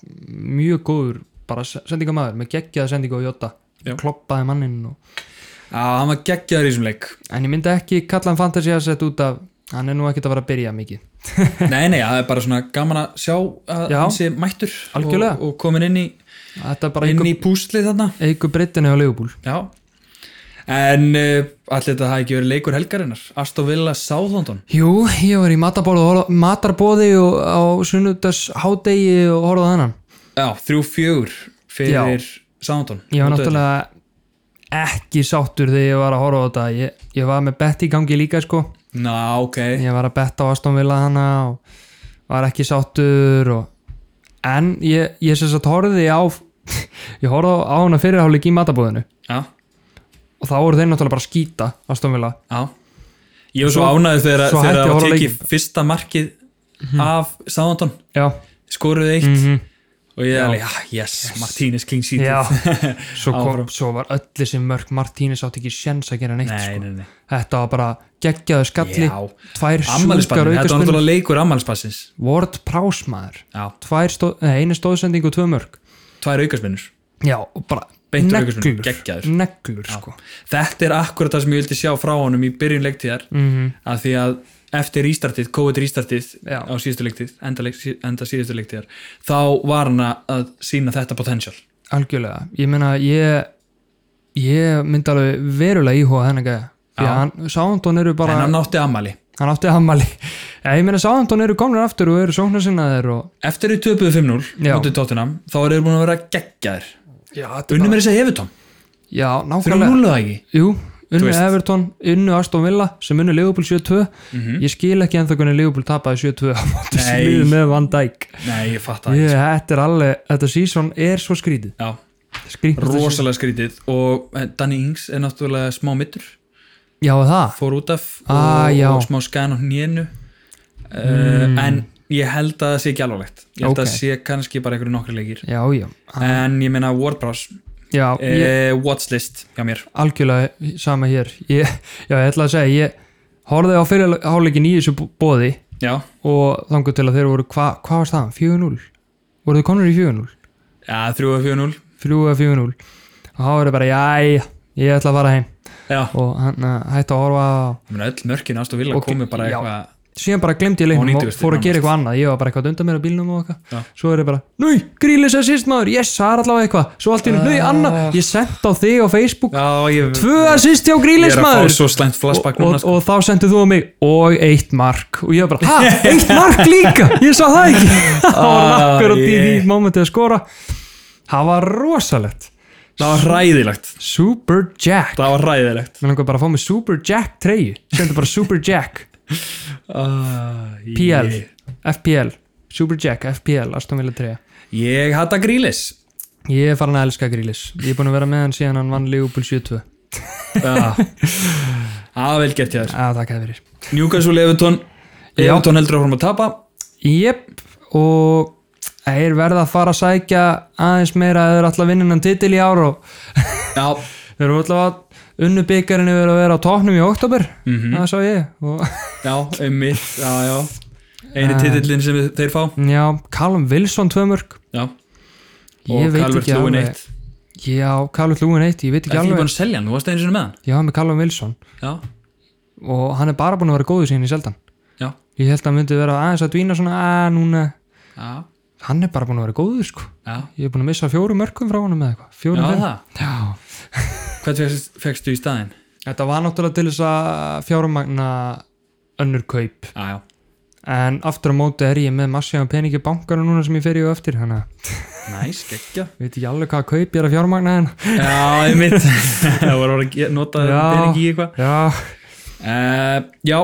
B: mjög góður bara sendingamæður með geggjaða sendingu á Jota
A: Já.
B: kloppaði mannin og...
A: Já, hann var geggjaður í þessum leik
B: en ég myndi ekki kalla hann fantasy asset út af hann er nú ekkert að vera að byrja mikið
A: Nei, nei, það er bara svona gaman að sjá að
B: Já.
A: hann sé mættur
B: Algjörlega.
A: og, og komin inn í,
B: þetta er bara
A: inn
B: einhver,
A: í púslið þarna
B: einhver breytinu á Leopold
A: Já En uh, allir þetta hafi ekki verið leikur helgarinnar Aston Villa Southampton
B: jú, ég var í matarbóði og, matarbóði og á sunnudags hádegi og horfði á þennan
A: Já, þrjú fjögur fyrir Southampton
B: ég var
A: Móti öllum.
B: náttúrulega ekki sáttur þegar ég var að horfa á þetta ég, ég var með bett í gangi líka sko
A: Ná, ok
B: ég var að betta á Aston Villa hana og var ekki sáttur og... en ég, ég sem sagt horfði á ég horfði á hana fyrirháleik í matabóðinu
A: Já,
B: og þá voru þeir náttúrulega bara að skýta Aston Villa
A: já Ég var svo
B: Svo-
A: ánægður þegar
B: svo
A: þegar það
B: hætti að
A: var
B: horfa á
A: tekið fyrsta markið af Southampton
B: já,
A: skoruðu eitt
B: Mhm.
A: og ég
B: Já.
A: er alveg, já, yes, Martínez clean sheet
B: já. Svo, kom,
A: Áfram.
B: svo var öll þessi mörg Martínez átt ekki sjens að gera neitt
A: Nei,
B: sko.
A: nei, nei
B: þetta var bara geggjaðu skalli
A: Já.
B: tvær sjúkar
A: Ammælisbarnin, þetta var
B: aukaspunni
A: náttúrulega leikur ammælisbassins
B: Ward Prásmaður
A: Já,
B: stó, nei, einu stóðsending og tvö mörg
A: tvær aukaspinnur
B: já, og bara
A: Beint úr aukaspyrnu,
B: neglur,
A: geggjaður.
B: neglur sko.
A: Þetta er akkurat það sem ég vildi sjá frá honum í byrjun leiktíðar
B: mm
A: að því að eftir ístartið, COVID ístartið
B: Já.
A: á síðustu leiktið, enda, leik, sí- enda síðustu leiktíðar þá var hann að sína þetta potential
B: algjörlega, ég meina ég, ég myndi alveg verulega íhuga þennan gæja því
A: Já.
B: að hann, Sándón eru bara
A: en
B: hann,
A: hann átti ammæli
B: átti ammali ja, ég meina Sándón eru komnir aftur og eru sóknarsinnaðir og
A: Eftir í töpuðu 5-0
B: Já.
A: mútið tóttinam þá er þeir búin að vera geggjaðir
B: já,
A: Unnum er þessi hefutón,
B: já
A: þrjú
B: nákvæmlega
A: núluða ekki
B: Jú,
A: Þú
B: unnu
A: veist.
B: Everton, unnu Aston Villa sem unnu Liverpool 7-2 ég skil ekki ennþá hvernig Liverpool tapaði 7-2 á móti
A: Mhm. Nei.
B: sliðu með Van Dijk
A: Nei, ég fatt að
B: ég, þetta er alveg, þetta season er svo skrítið
A: Já,
B: skrítið
A: rosalega skrítið og eh, Danny Ings er náttúrulega smá mittur
B: já það,
A: fór út af og,
B: Ah, já. Hmm.
A: og smá skæðan á hnénu uh, en ég held að það sé ekki alvarlegt ég held að
B: Ok.
A: það sé kannski bara einhverju nokkri leikir
B: já já
A: en ég meina Wordpress
B: já, ég,
A: eh, watchlist hjá mér
B: algjörlega sama hér ég, já, ég ætla að segja, ég horfði á fyrirháleikin í þessu bóði
A: já,
B: og þangur til að þeir voru, hva- hvað var staðan? 4-0? voru þið konur í 4-0?
A: ja, 3-4-0
B: 3 eða 4-0 og þá voru bara, jæja, ég ætla að fara heim
A: já,
B: og hann uh, hætti að horfa á
A: ég meina öll mörkin ást og vilja
B: Ok,
A: okay. komi bara
B: já.
A: eitthvað
B: síðan bara glemdi ég
A: Á
B: leiknum og
A: 90
B: fór að gera
A: nánast.
B: eitthvað annað ég var bara eitthvað undan mér á bílnum og
A: Já.
B: eitthvað svo er ég bara, nui, grílis að síst maður yes, það er allavega eitthvað, svo allt í nú, nui, annað ég sent á þig á Facebook
A: já, ég,
B: tvö að síst hjá
A: ég
B: grílis
A: er að
B: maður
A: fá svo slæmt flashback
B: og,
A: núna sko.
B: og, og þá sendið þú á mig og eitt mark og ég var bara, hæ, eitt mark líka ég sá það ekki það var akkur og dýr í
A: Ah, yeah.
B: momentið að skora það var rosalegt
A: það var hræðilegt
B: Super Jack
A: það var hræðilegt
B: mér langar bara að fá mig Super Jack treyju sendu bara Super Jack, Ah,
A: uh,
B: PL
A: ég,
B: FPL, Super Jack, FPL Aston Villa treyja
A: ég hata grílis
B: ég er farin að elska Grílis ég er búin að vera með hann síðan hann vann Liverpool
A: Já.
B: 7-2
A: það er Ah. vel gert hjá þér
B: að takk hefur
A: Newcastle Everton
B: Já.
A: Everton heldur áfram að tapa
B: Jep, og þeir verða að fara að sækja aðeins meira að þeir ætla að vinna innan titil í ár og
A: já,
B: þeir eru alltaf að unnu byggarinu verið að vera á tóknum í oktober
A: Mhm.
B: það sá ég og
A: já, einmitt já, já
B: Eh.
A: eini titillin sem þeir fá
B: já, Callum Wilson tvömörk
A: já.
B: ég
A: og
B: veit
A: Calvert
B: ekki
A: Lúin
B: alveg
A: eitt
B: já, Callum Lúin eitt, ég veit
A: Það
B: ekki
A: er ekki
B: alveg
A: búin að selja hann, þú varst einu sinni með hann
B: já, með Callum Wilson
A: Já,
B: og hann er bara búin að vera góður síðan í seldan
A: já,
B: ég held að hann myndi vera aðeins að dvína svona að núna,
A: já,
B: hann er bara búin að vera góður sko
A: já,
B: ég er búin að missa fjórum mörkum frá honum með eitthvað
A: já
B: fjórum
A: það
B: fimm já,
A: Hvað fegstu í staðinn?
B: Þetta var náttúrulega til þess að fjármagna önnur kaup
A: Já, já,
B: en aftur á móti er ég með massíðan peningi bankana núna sem ég fer í og eftir þannig að
A: næs, geggja
B: ég veit ekki alveg hvað kaup ég er að fjármagna en
A: Já, ég mitt Það voru að ge- nota
B: Já.
A: pening í eitthvað
B: já,
A: uh, Já,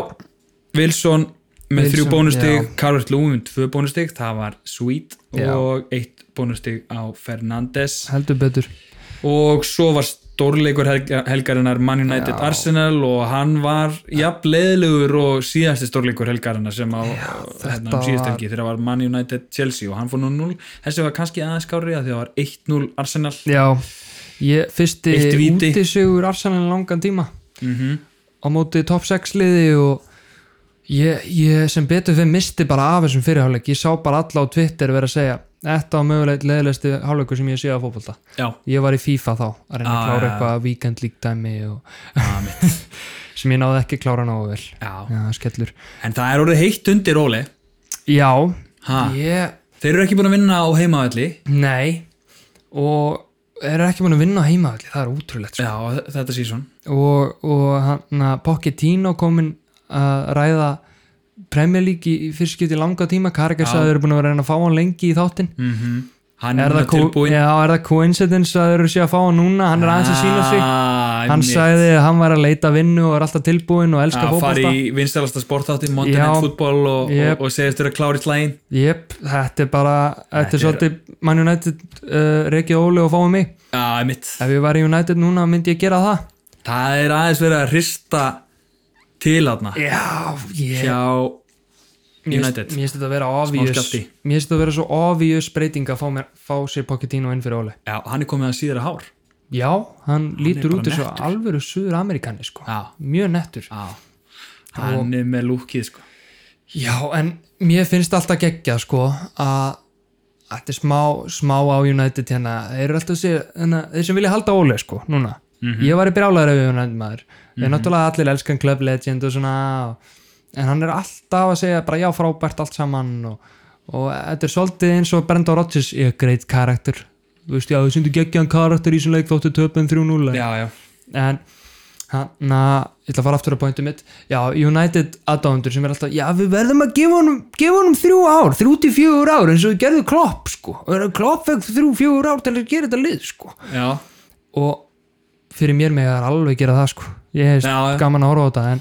A: Wilson með
B: Wilson,
A: þrjú
B: já.
A: bónustig, Carver Lúm með tvö bónustig, það var sweet
B: Já.
A: og eitt bónustig á Fernandes
B: heldur betur
A: og svo var stórleikur helga, helgarinnar Man United
B: Já.
A: Arsenal og hann var jafn leiðilegur og síðasti stórleikur helgarinnar sem á hérna,
B: þetta
A: um síðast
B: var-
A: helgi þegar var Man United Chelsea og hann fór 0-0 þessi var kannski aðeins kári að því að það var 1-0 Arsenal
B: já, ég fyrsti
A: Eitt víti.
B: útisugur Arsenal í langan tíma
A: mm
B: á móti top 6 liði og ég, ég sem betur fyrir misti bara af þessum fyrirháleik ég sá bara alla á Twitter vera að segja þetta var mögulegt leðilegsti háleikur sem ég sé að fótbolta
A: Já,
B: ég var í FIFA þá að reyna að
A: Ah, já,
B: klára
A: já.
B: eitthvað weekend league dæmi og,
A: að mitt
B: sem ég náði ekki að klára nógu vel
A: Já,
B: já, skellur
A: en það er orðið heitt undir Óli
B: já,
A: ha,
B: ég,
A: Þeir eru ekki búin að vinna á heimavalli
B: nei og er ekki mann að vinna á heimavalli, það er útrúlegt sko.
A: Já, þetta sísón
B: og, og hann að Pochettino komin að ræða Premier League í í fyrst skipti í langa tíma Karger
A: Já.
B: sagði að þeir eru búin að vera að reyna að fá hann lengi í þáttinn
A: mm Hann
B: er
A: er
B: það, co-
A: tilbúin
B: já, er það coincidence að þeir eru sé að fá hann núna hann er aðeins að sína sig
A: Ah,
B: hann sagði að hann var að leita vinnu og er alltaf tilbúin og elska
A: að fara
B: fókbalta
A: Ah, í vinstalasta sportátti, Monday
B: Já.
A: Night Football og, og,
B: Jep.
A: og segist þeirra klári slægin
B: Jep, þetta er bara þetta
A: Þetta
B: er
A: er-
B: svolítið Man United uh, Reki Óli og fáið mig
A: Já, mitt
B: ef ég var í United núna myndi ég gera það
A: Það er aðeins verið að hrista til aðna
B: Já, ég
A: hjá
B: Mér finnst-
A: United.
B: Mér finnst þetta að vera obvious
A: skjálfti.
B: Mér finnst þetta að vera svo obvious breyting að fá, mér, fá sér Pochettino inn fyrir Óli
A: Já, hann er komið að síðra hár.
B: Já, hann lítur
A: bara
B: út þessu
A: nettur.
B: alvöru suður Amerikani sko
A: Já.
B: Mjög nettur
A: Já. Hann er með lúkið, sko.
B: Já, en mér finnst alltaf geggja sko að að þetta er smá, smá á United hérna, þeir eru alltaf sér, hérna, þeir sem vilja halda Óli sko, núna ég var í brjálæður ef ég United maður mm er náttúrulega allir elskan Club Legend og svona og, en hann er alltaf að segja bara já frábært allt saman og, og þetta er svolítið eins og Brenda Rodgers er great karakter, þú veist já þau syndu geggjan karakter í þessum leik þóttu töpun 3-0 en-
A: Já, já.
B: en hann að, ég ætla að fara aftur á pointu mitt já, United aðdándur sem er alltaf já, við verðum að gefa honum, gefa honum þrjú ár, þrjú til fjögur ár eins og við gerðum klopp sko, klopp fekk þrjú fjögur ár til að gera þetta lið sko
A: Já.
B: og fyrir mér með það er alveg gera það sko ég hef
A: Já, já.
B: gaman að horfa á þetta en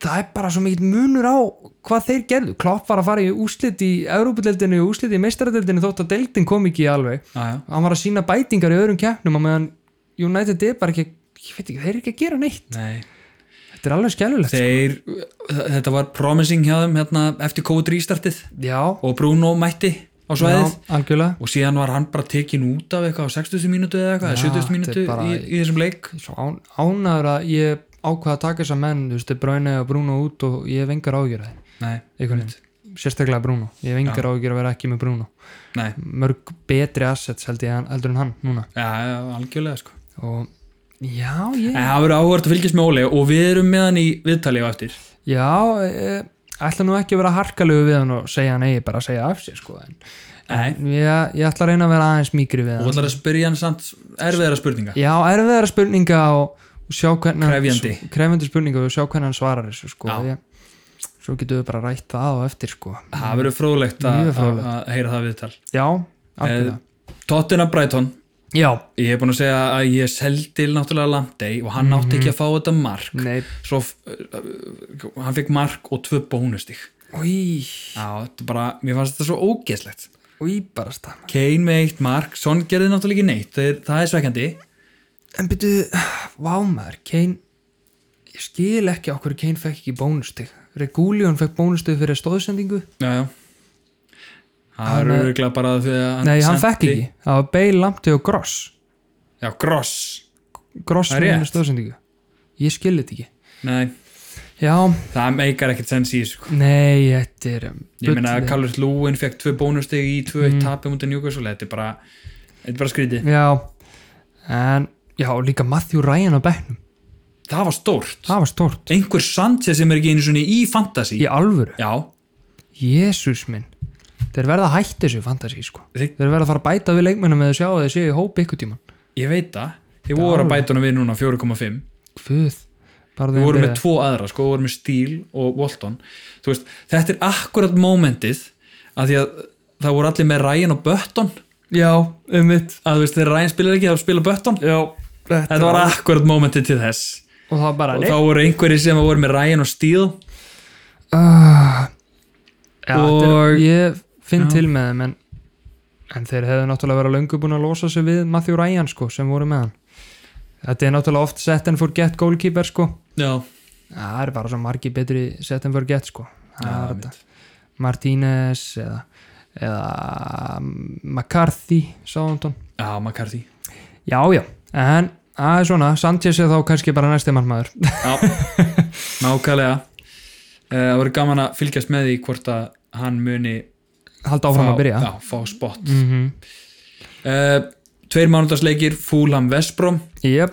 B: það er bara svo mikið munur á hvað þeir gerðu, klopp var að fara í úslit í Európa-deldinu og úslit í meistaradeldinu þótt að deldin kom ekki alveg
A: Já, já.
B: hann var að sína bætingar í öðrum keppnum og meðan United er bara ekki ég veit ekki, þeir eru ekki að gera neitt
A: Nei.
B: þetta er alveg skjælulegt
A: Þeir, þetta var promising hjá þeim hérna eftir COVID restartið
B: já,
A: og Bruno mætti á
B: já,
A: svæðið
B: algjörlega
A: og síðan var hann bara tekin út af eitthvað á 60. mínútu eða eitthvað,
B: Já,
A: 70.
B: þetta er
A: mínútu
B: bara-
A: í, í þessum leik.
B: svo án, ánæður að ég ákvaða að taka þessa menn þú veist, Bruyne og Bruno út og ég hef engar ágjör það
A: Nei,
B: einhvern veginn, Mm. sérstaklega Bruno ég hef engar ágjör að vera ekki með Bruno
A: nei.
B: mörg betri assets held ég en- heldur en hann núna
A: Já, já, algjörlega, sko.
B: og já, ég
A: En það verður áhugart að fylgjast með Óli og við erum með hann í viðtali á eftir.
B: já, e, ætla nú ekki að vera harkalegu við hann og segja hann eigi bara að segja af sér sko en
A: Nei.
B: ég, ég ætla að reyna að vera aðeins mýkri við
A: og
B: hann
A: ætlar að spyrja hann samt erfiðara spurninga
B: Já, erfiðara spurninga og, og sjá hvernig hann-
A: Krefjandi.
B: s- krefjandi spurninga og sjá hvernig hann svarar þessu sko.
A: Já.
B: ég, svo getum við bara rætt það á eftir sko.
A: það verður fróðlegt að
B: Mjög fróðlegt.
A: að- að heyra það viðtal
B: já, algjörlega
A: Eh, Tottenham Brighton,
B: já,
A: ég er búin að segja að ég seldi náttúrulega Lamptey og hann átti
B: Mhm.
A: ekki að fá þetta mark
B: nei
A: svo f- uh, uh, hann fekk mark og tvö bónustig
B: Í,
A: Já, þetta er bara, mér fannst þetta svo ógeðslegt
B: í bara stanna
A: Kane með eitt mark, Son gerði náttúrulega ekki neitt það er, það er svekkjandi
B: En byrju, vámaður, Kane ég skil ekki á hverju Kane fekk ekki bónustig Regulion fekk bónustig fyrir stóðsendingu
A: Já, já Það eru
B: Hann er-
A: örgulega bara því að hann
B: Nei, hann
A: sendi-
B: fekk ekki, það var Bale, Lamptey og Gross
A: Já, Gross
B: Gross
A: Það er
B: fyrir
A: rétt.
B: stóðsendingu Ég skil þetta ekki
A: Nei,
B: Já,
A: það meikar ekkert sens í þessu sko.
B: nei, þetta er um,
A: ég meina
B: bull-
A: að Callum Lúin fekk tvö bónusteg í tvö mm. tapi mútið Newcastle þetta er bara, þetta er bara
B: Mm.
A: skrítið
B: Já, en já, líka Matthew Ryan á bekknum,
A: það var stórt,
B: það var stort
A: einhver Sanchez sem er ekki einu svona í fantasy
B: Í alvöru,
A: já,
B: Jésús minn Þeir verða að hætta þessu fantasi, sko
A: Þeir-
B: Þeir verða að fara að bæta við leikmennum eða sjá að þeir séu í hóp ykkur tíman
A: ég veit það þeir voru að bæta honum við núna á 4,5
B: Guð, bara
A: við
B: þeim
A: vorum
B: verið.
A: með tvo aðra sko, við vorum með Steele og Walton þú veist, þetta er akkurat mómentið að því að það voru allir með Ryan og Button
B: Já, um mitt
A: að þú veist, þegar Ryan spilar ekki, þá spilar Button
B: Já, þetta,
A: þetta var akkurat mómentið til þess
B: Og það var bara,
A: og
B: nei
A: þá voru einhverjir sem voru með Ryan og Steele
B: Ah, já,
A: Og-
B: þetta er- ég finn
A: Já.
B: til með þeim en, en þeir hefðu náttúrulega verið löngu búin að losa sig við Matthew Ryan sko sem voru með hann þetta er náttúrulega oft set and forget goalkeeper sko
A: já,
B: það er bara svo margi betri set and forget sko
A: Já,
B: það er
A: mitt.
B: þetta Martínez eða, eða mm, McCarthy sáðan
A: já, McCarthy
B: já já en það er svona Sanchez er þá kannski bara næsti mannmaður
A: Já, nákvæmlega Eh, Það voru gaman að fylgjast með því hvort að hann muni
B: halda áfram
A: fá-
B: að byrja
A: já, fá spott mm.
B: mm -hmm.
A: Tveir mánudagsleikir, Fúlham Vesbrom
B: Jep,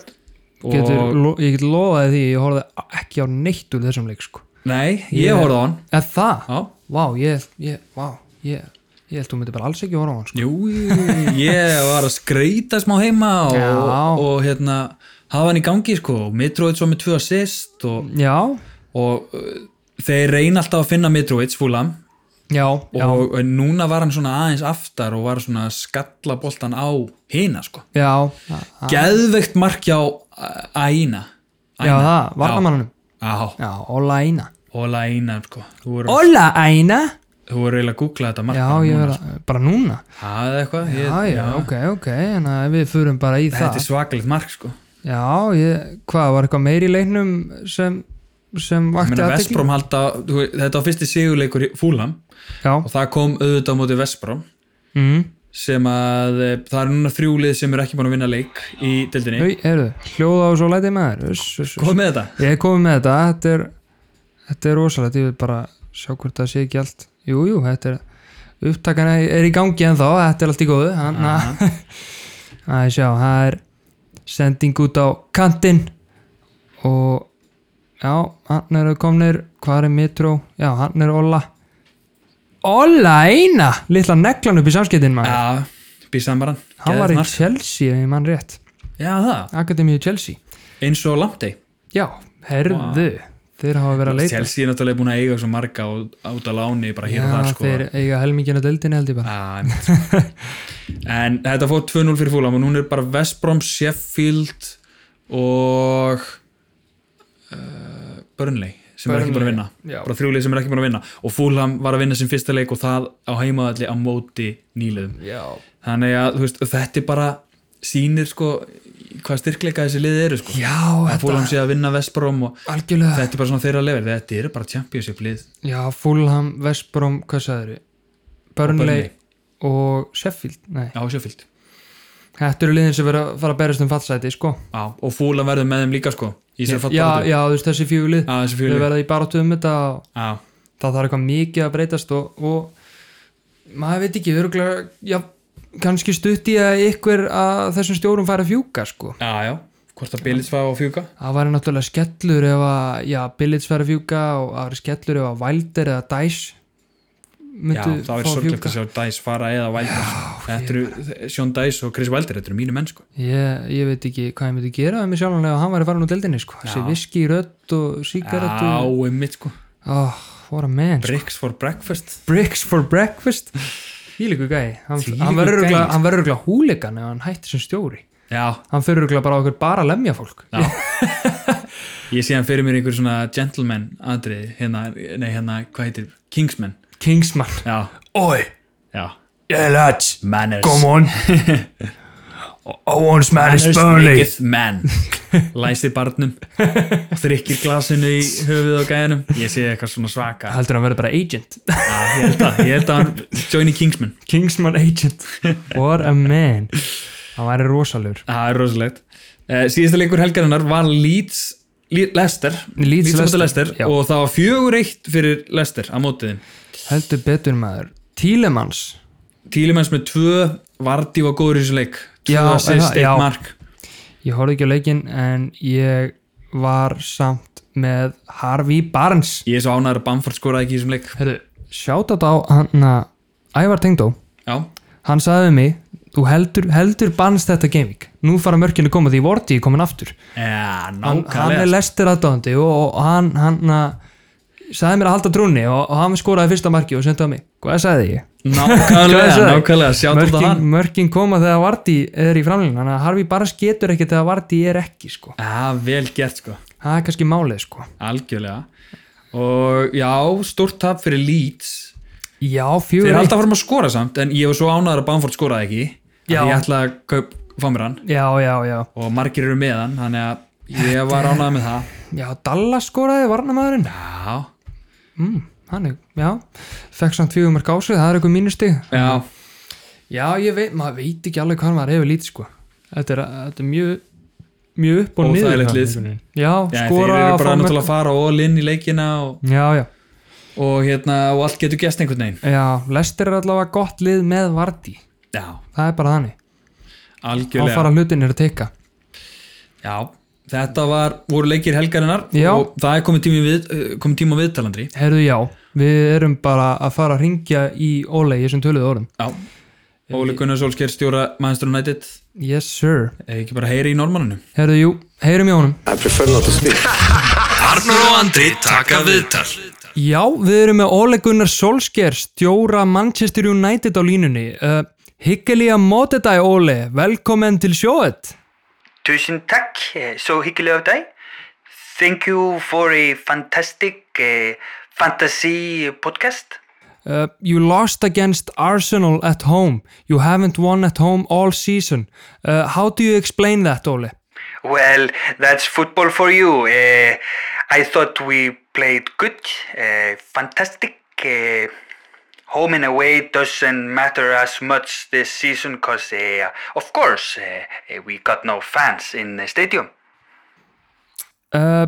A: og...
B: getur, lo, ég get lofaði því að ég horfði ekki á neitt úr þessum leik sko.
A: Nei, ég
B: Ég-
A: yeah. horfði á hann
B: eða það,
A: Já,
B: vá, ég ég, vá, ég, ég held þú myndi bara alls ekki horfa á hann sko.
A: jú, ég var að skreita smá heima og,
B: Já.
A: og hérna hafa hann í gangi sko, Mitrovic var með tvö assist og,
B: já,
A: og eh, þeir reyna alltaf að finna Mitrovic Fúlham
B: já, já,
A: og eh, núna var hann svona aðeins aftar og var svona að skalla boltan á hina sko
B: já það- það-
A: geðveikt mark hjá uh, Aina
B: já, það, varnamannunum
A: Já,
B: já, Óla Æna
A: Óla Aina sko. Þú voru,
B: Óla Æna
A: þú voru eiginlega að googla þetta mark
B: já,
A: bara
B: ég
A: núna,
B: verða, bara núna
A: sko. Það er eitthvað ég,
B: já, já, ok, ok, en að við förum bara í
A: Þetta
B: það
A: er svakalegt mark sko
B: já, ég, hvað, var eitthvað meiri í leiknum sem, sem vakti
A: Meina,
B: athygli?
A: Vestbrom halda, þú veist, þetta var fyrsti sigurleikur í Fúlam
B: já,
A: og það kom auðvitað á móti Vestbrom
B: mhm
A: sem að eh, það er núna þrjúlið sem er ekki búin að vinna leik í deildinni
B: Þau, heyrðu, hljóða og svo lætið maður uss, uss, uss.
A: Hvað með þetta?
B: Ég er komið með þetta Þetta er, þetta er rosalegt Ég vil bara sjá hvort það sé ekki allt Jú, jú, þetta er Upptakana er í gangi en þá Þetta er allt í góðu Þannig að-
A: Aha.
B: að sjá, það er Sending út á kantinn Og Já, hann eru komnir Hvað er Mitró? Já, hann er Olla Olla eina Lilla neglan upp í samskiptin maður
A: Já, býsaðan bara
B: Hann var í
A: Geðveikt mark.
B: Chelsea ef ég mann rétt
A: Já, það,
B: Akademíu Chelsea
A: eins og Lamptey
B: Já, herðu Þeir hafa verið að leita
A: Chelsea er náttúrulega búin að eiga svo marga á- át að láni bara hér
B: Já,
A: og þar sko
B: þeir eiga helmingina deildin held ég bara
A: Ah, einmitt, sko. en þetta fór 2-0 fyrir fúlam og núna er bara Vestbrom, Sheffield og uh, Burnley sem er ekki búin að vinna
B: Já.
A: bara þrjúlið sem er ekki búin að vinna og fúlam var að vinna sem fyrsta leik og það á heimaðalli á móti nýliðum
B: Já,
A: þannig að þú veist, þetta er bara sýnir sko hvað styrkleika þessi liði eru sko
B: já
A: fúlam
B: þetta
A: sé að vinna Vestbrom og
B: algjörlega
A: þetta er bara svona þeirra level þetta eru bara championship lið
B: Já, Fulham, Vestbrom, hvað sagður við? Burnley og Sheffield Nei,
A: á Sheffield
B: þetta eru liðin sem verið að fara að berast um fallsæti sko
A: Já, og fúlan verður með þeim líka sko í
B: Já,
A: þessari fallbaráttu.
B: já, þú veist þessi fjúlið
A: Já, þessi
B: Þau
A: fjölu
B: verða í baráttu um þetta og
A: Já,
B: það þarf eitthvað mikið að breytast og, og maður veit ekki, örgulega já, kannski stutt í að ykkur að þessum stjórum fara að fjúka sko
A: já, já Hvort að Billits var á fjúka
B: Það væri náttúrulega skellur ef að, já, Billits væri að fjúka og það væri skellur ef að Wilder eða Dice
A: Já,
B: myndu
A: það er
B: fá að
A: sorglegt
B: fjúka.
A: að sjá Dice fara eða Wilder Þetta eru Sjón Dice og Chris Wilder Þetta eru mínu menn sko
B: Ég, ég veit ekki hvað ég myndi gera með mig sjálfanlega og hann væri farin úr deildinni, sko. Þessi viski, rödd og sígarettu.
A: Já, einmitt sko
B: Oh, what a man. sko.
A: Bricks for breakfast
B: Bricks for breakfast. Þvílíku gæi. Hann,
A: Þvílíkur
B: hann verður
A: gæi,
B: örugglega-
A: sko.
B: hann verður örgulega húlikan ef hann hættir sem stjóri.
A: Já,
B: Hann fyrir örgulega bara á okkur bara að lemja fólk.
A: já Ég sé hann fyrir mér einhver svona gentleman atriði hérna, nei hérna, hvað heitir Kingsman,
B: Kingsman.
A: já,
B: Oi,
A: já
B: yeah lads,
A: Manners
B: on. I want Spanish
A: Manners menn Læsir barnum Þrykkir glasinu í höfuð og gæðinum Ég sé eitthvað svona svaka
B: Heldur hann verður bara agent
A: Já, ég held að, ég held að hann joini Kingsman
B: Kingsman agent What a man Það væri rosalur
A: það er rosalegt uh, síðasta leikur helgarinnar var Leeds Le- Leicester á
B: Leeds-
A: móti
B: Leicester,
A: Leicester
B: já.
A: og það var fjögur eitt fyrir Leicester á mótiðin
B: Heldur betur maður Tílemans
A: Tílimanns með tvö Vardí var góður í þessu leik
B: Já,
A: tvö
B: er
A: assist,
B: það? Já.
A: eitt mark
B: Ég horfði ekki á leikinn en ég var samt með Harvey Barnes
A: ég er svo ánæður að Bamford skoraði ekki í þessum leik
B: Herru, sjátt á hann að Ævar Tengdó
A: já,
B: Hann sagði við mig þú heldur, heldur bannst þetta gaming nú fara mörkin að koma því Vorti er komin aftur
A: Já,
B: hann, hann er
A: nákvæmlega
B: lestir aðdóðandi og, og hann, hann að, sagði mér að halda trúni og, og hann skoraði fyrsta marki og sendaði mig hvað sagði ég? Hvað
A: Nákvæmlega,
B: sagði?
A: nákvæmlega, sjátt út á
B: eh, mörkin,
A: hann
B: mörkin koma þegar Varti er í framlínu þannig að Harfi bara getur ekki þegar Varti er ekki sko.
A: Já, vel gert sko
B: það er kannski málið sko.
A: Algjörlega Og já, stórt tap fyrir Leeds
B: já,
A: Þeir
B: fjögur
A: halda fram að skora samt En ég var svo ánæður að Bamford skoraði ekki
B: Já.
A: já. Ég ætla að kaup, fá mér hann
B: já, já, já,
A: Og margir eru með hann Þannig að ég var ánæður með það
B: já, Dallas skoraði varnamæðurinn
A: Já,
B: mm, hann er, já, fekk samt fjögur mörk ásvið, það er eitthvað mínustig
A: já,
B: já, ég veit, maður veit ekki alveg hvað maður hefur lítið sko. þetta er, þetta er mjög mjög upp og niður
A: Óþægilegt
B: þarna,
A: lið.
B: einhvern veginn. já,
A: já Þeir
B: skora
A: eru
B: fá
A: bara
B: mörk.
A: náttúrulega að fara all in í leikina og,
B: já, já,
A: og, hérna, og allt getur gest einhvern veginn
B: já, Lester er allavega gott lið með Vardí
A: Já,
B: það er bara þannig, þá
A: algjörlega
B: fara hlutinir að teika
A: Já, þetta var, voru leikir helgarinnar
B: Já.
A: og það er komið tíma, við, eh, komið tíma á viðtalandri
B: Herðu já, við erum bara að fara að ringja í Óle í þessum töluðu orðum.
A: Já,
B: Eh,
A: Óli Gunnar Solskjær stjóra Manchester United,
B: Yes sir.
A: Eh, ekki bara heyri í normanninu
B: Herðu jú, heyrum í honum.
C: I prefer not to speak.
A: Arnur og Andri taka viðtal
B: Já, við erum með Óle Gunnar Solskjær, stjóra Manchester United á línunni. Uh, Hyggelega mótedæ Óle, velkommen til sjóet.
D: Tusen takk, eh, så hyggelig av deg. Thank you for a fantastic eh, fantasy podcast.
B: Uh, you lost against Arsenal at home. You haven't won at home all season. Uh, how do you explain that, Ole?
D: Well, that's football for you. Eh, I thought we played good, eh, fantastic. eh, home and away doesn't matter as much this season because, of course, eh, eh, we got no fans in the stadium.
B: Uh,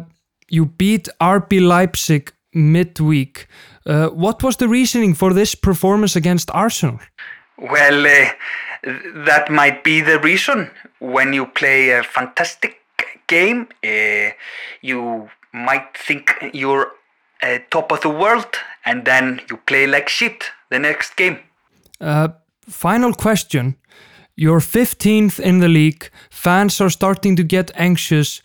B: you beat RB Leipzig midweek. Uh, what was the reasoning for this performance against Arsenal?
D: Well, uh, th- that might be the reason. When you play a fantastic game, uh, you might think you're uh, top of the world, and then you play like shit the next game.
B: Uh, final question. You're 15th in the league. Fans are starting to get anxious.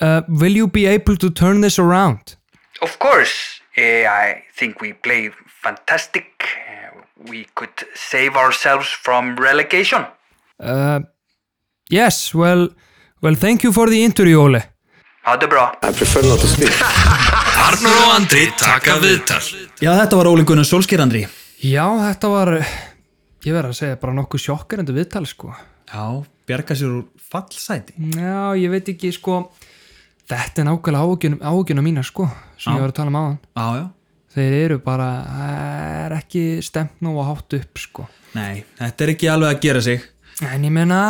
B: Uh, will you be able to turn this around?
D: Of course, eh, I think we play fantastic. Uh, we could save ourselves from relegation.
B: Uh, yes, well, well, thank you for the interview, Ole.
D: Ha det bra.
C: I prefer not to speak.
A: Arnur og Andri taka viðtal Já, þetta var Óli Gunnar Solskjær Andri
B: Já, þetta var, ég verð að segja, bara nokkuð sjokkarendu viðtal, sko.
A: Já, bjarga sér úr fallsæti
B: Já, ég veit ekki, sko, þetta er nákvæmlega áhugjuna mína, sko, sem ég var að tala um áðan.
A: Já, já,
B: Þeir eru bara, það er ekki stemt nú að hátt upp, sko.
A: nei, þetta er ekki alveg að gera sig
B: En ég meina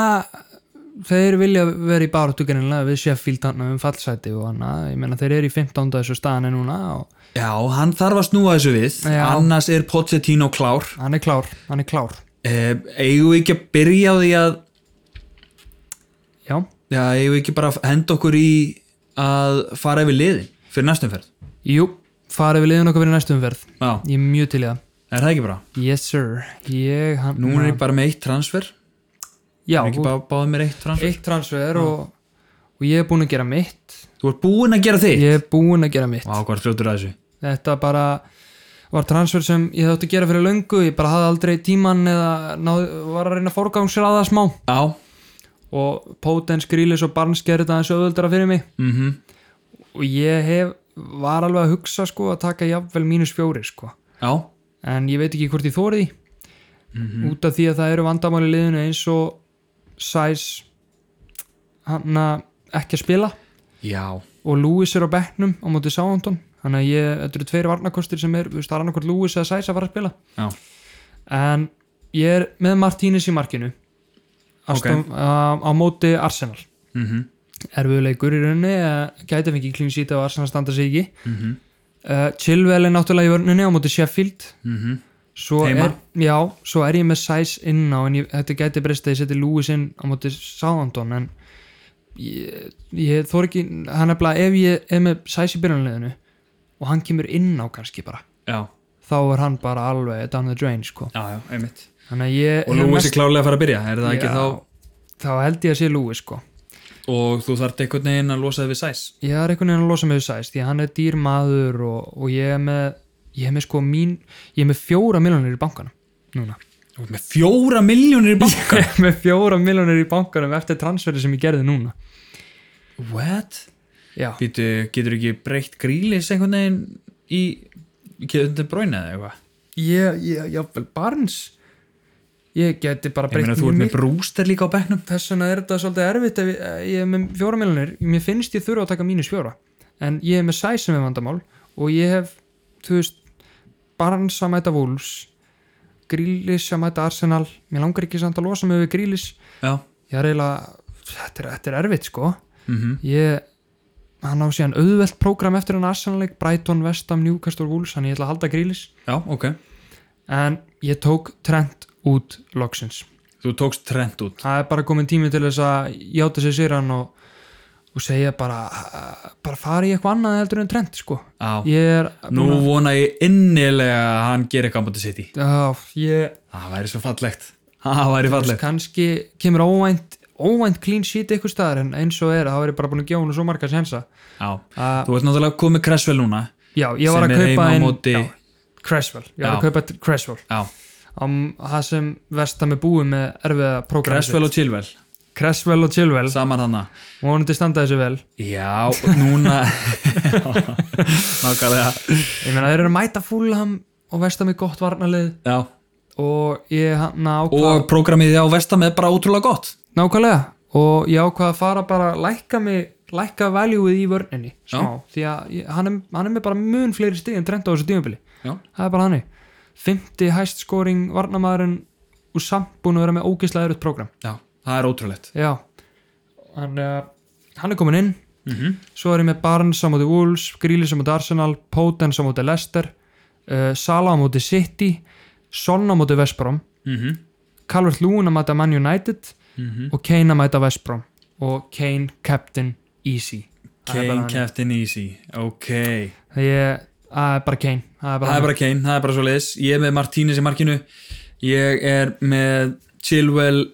B: þeir vilja vera í barátugrinlega við Sheffield hann um fallsæti og annað ég meina þeir eru í 15. þessu staðan en núna og
A: Já, hann þarf að snúa þessu við
B: Já.
A: annars er Pochettino klár
B: hann er klár, hann er klár
A: Eh, eigum við ekki að byrja á því að
B: Já,
A: já, eigum við ekki bara að henda okkur í að fara yfir liðin fyrir næstum ferð
B: jú, farið við liðun okkur fyrir næstu umferð
A: já,
B: ég er mjög til í það,
A: er það ekki bara?
B: yes sir ég hann,
A: núna er ég bara með eitt transfer
B: já,
A: er ekki bara báðið mér eitt transfer
B: eitt transfer og, og ég er búinn að gera mitt
A: þú ert búinn að gera þig
B: ég er búinn að gera mitt
A: vá, hvað er fljótur að þessu
B: þetta bara var transfer sem ég þátti að gera fyrir löngu ég bara hafði aldrei tíman eða náð, var að reyna að forgangsraða smá
A: já,
B: og Potens, Grílis og Barnes gerði þetta aðeins öðvöldara fyrir mig
A: mhm
B: og ég hef, var alveg að hugsa sko að taka jafnvel mínus fjóri sko
A: já,
B: en ég veit ekki hvort ég þóri því út af því að það eru vandamáli í liðinu eins og Sæs hann að ekki að spila
A: já,
B: og Lewis er á bekknum á móti Sáhondon þannig að ég, þetta eru tveir varnakostir sem er, þú veist, það er annarkvort Lewis eða Sæs að fara að spila
A: já
B: en ég er með Martínez í markinu Aston, á, á móti Arsenal
A: mhm
B: erfiðleikur í rauninni eh, gæti fengið clean sheet ef Arsenal standa sig ekki mm Chilwell er náttúrulega í vörninni á móti Sheffield
A: Mhm.
B: svo
A: Heima.
B: er, já, svo er ég með Sæs inn á en ég, þetta gæti breyst að ég seti Lewis inn á móti Southampton en ég, ég þor ekki hann er bara ef ég er með Sæs í byrjunliðinu og hann kemur inn á kannski bara
A: já,
B: þá er hann bara alveg down the drain sko
A: já, já, einmitt
B: Þannig að ég
A: Og Lewis er klárlega að fara að byrja, er það ekki
B: Já,
A: þá?
B: Þá held ég að sé Lewis sko
A: Og þú þarft einhvern veginn að losa þig við sæs.
B: Ég er einhvern veginn að losa mig við sæst því að hann er dýr maður og, og ég er með ég er með sko mín, ég er með fjóra miljonir í bankanum núna
A: Þú ert með fjóra miljónir í banka.
B: Ég er með fjóra miljonir í bankanum eftir transferi sem ég gerði núna
A: What?
B: Já,
A: Býtu, getur ekki breytt grílis einhvern veginn í, getur þetta bróina eða eitthvað?
B: ég, ég, jáfnvel Barnes ég geti bara
A: Ég meina,
B: breytt
A: þú
B: mjög
A: ert með
B: mikið
A: brúster líka á bekknum.
B: þess vegna er þetta svolítið erfitt ef ég, ég er með fjóra miljonir, mér finnst ég þurfa að taka mínus fjóra, en ég er með sæsum við vandamál og ég hef þú veist, Barnes að mæta Wolves Grílis að mæta Arsenal mér langar ekki samt að losa mig við Grílis
A: Já.
B: ég er eiginlega, þetta er, þetta er erfitt sko
A: Mm
B: ég, hann á síðan auðvelt prógram eftir hann Arsenal-leik, Brighton, Vestam, Newcastle, Wolves þannig ég ætla að halda Grílis,
A: Já, ok.
B: en ég tók Trent út loksins
A: Þú tókst trend út.
B: það er bara komin tími til þess að játa sér sér hann og, og segja bara bara fara í eitthvað annað heldur en trend sko
A: Já.
B: ég er
A: Nú vona ég innilega að hann gerir eitthvað á mútið sitt í.
B: á, ég,
A: Það væri svo fallegt. Það væri fallegt.
B: kannski kemur óvænt óvænt clean sheet eitthvað staðar en eins og er, þá er ég bara búin að gefa hún svo marga sensa
A: Já.
B: að
A: Þú ert náttúrulega komið Cresswell núna.
B: já, ég var
A: Sem
B: að
A: er
B: kaupa
A: heima á
B: ein-
A: móti-
B: já, Cresswell, ég var
A: Já.
B: að kaupa Cresswell
A: Já.
B: um, það sem vestam er búið með erfiða prógram
A: Cresswell og Chilwell.
B: Cresswell og Chilwell
A: Saman hanna.
B: vonandi standa þessu vel
A: Já, núna. Nákvæmlega.
B: ég meina þeir eru að mæta fúlham og vestam er gott varnalið
A: Já.
B: og ég hann ákvað
A: Og prógramið á Vestam er bara ótrúlega gott.
B: nákvæmlega og ég ákvað að fara bara að lækka mig lækka valjúið í vörninni smá, því að ég, hann, er, hann er með bara mun fleiri stig en trend á þessu tímabili
A: Já.
B: það er bara hannig, 50 hæst scoring varnamaðurinn og samt búin að vera með ógeðslega erutt prógram
A: Já. Það er ótrúlegt.
B: já hann, uh, hann er komin inn svo er ég með Barnes á móti Wolves Grealish á móti Arsenal, Potence á móti Leicester uh, Salah á móti City Son á móti Vestbrom
A: Mm -hmm.
B: Calvert Lúin að mæta Man United
A: Mhm.
B: og Kane að mæta West Brom og Kane Captain Easy Það er bara
A: Kane
B: hann.
A: Captain Easy. Ok.
B: Ég- það er bara Kane það er
A: Það
B: bara,
A: er
B: hann.
A: bara Kane. Það er bara svo leiðis. Ég er með Martínez í markinu. Ég er með Chilwell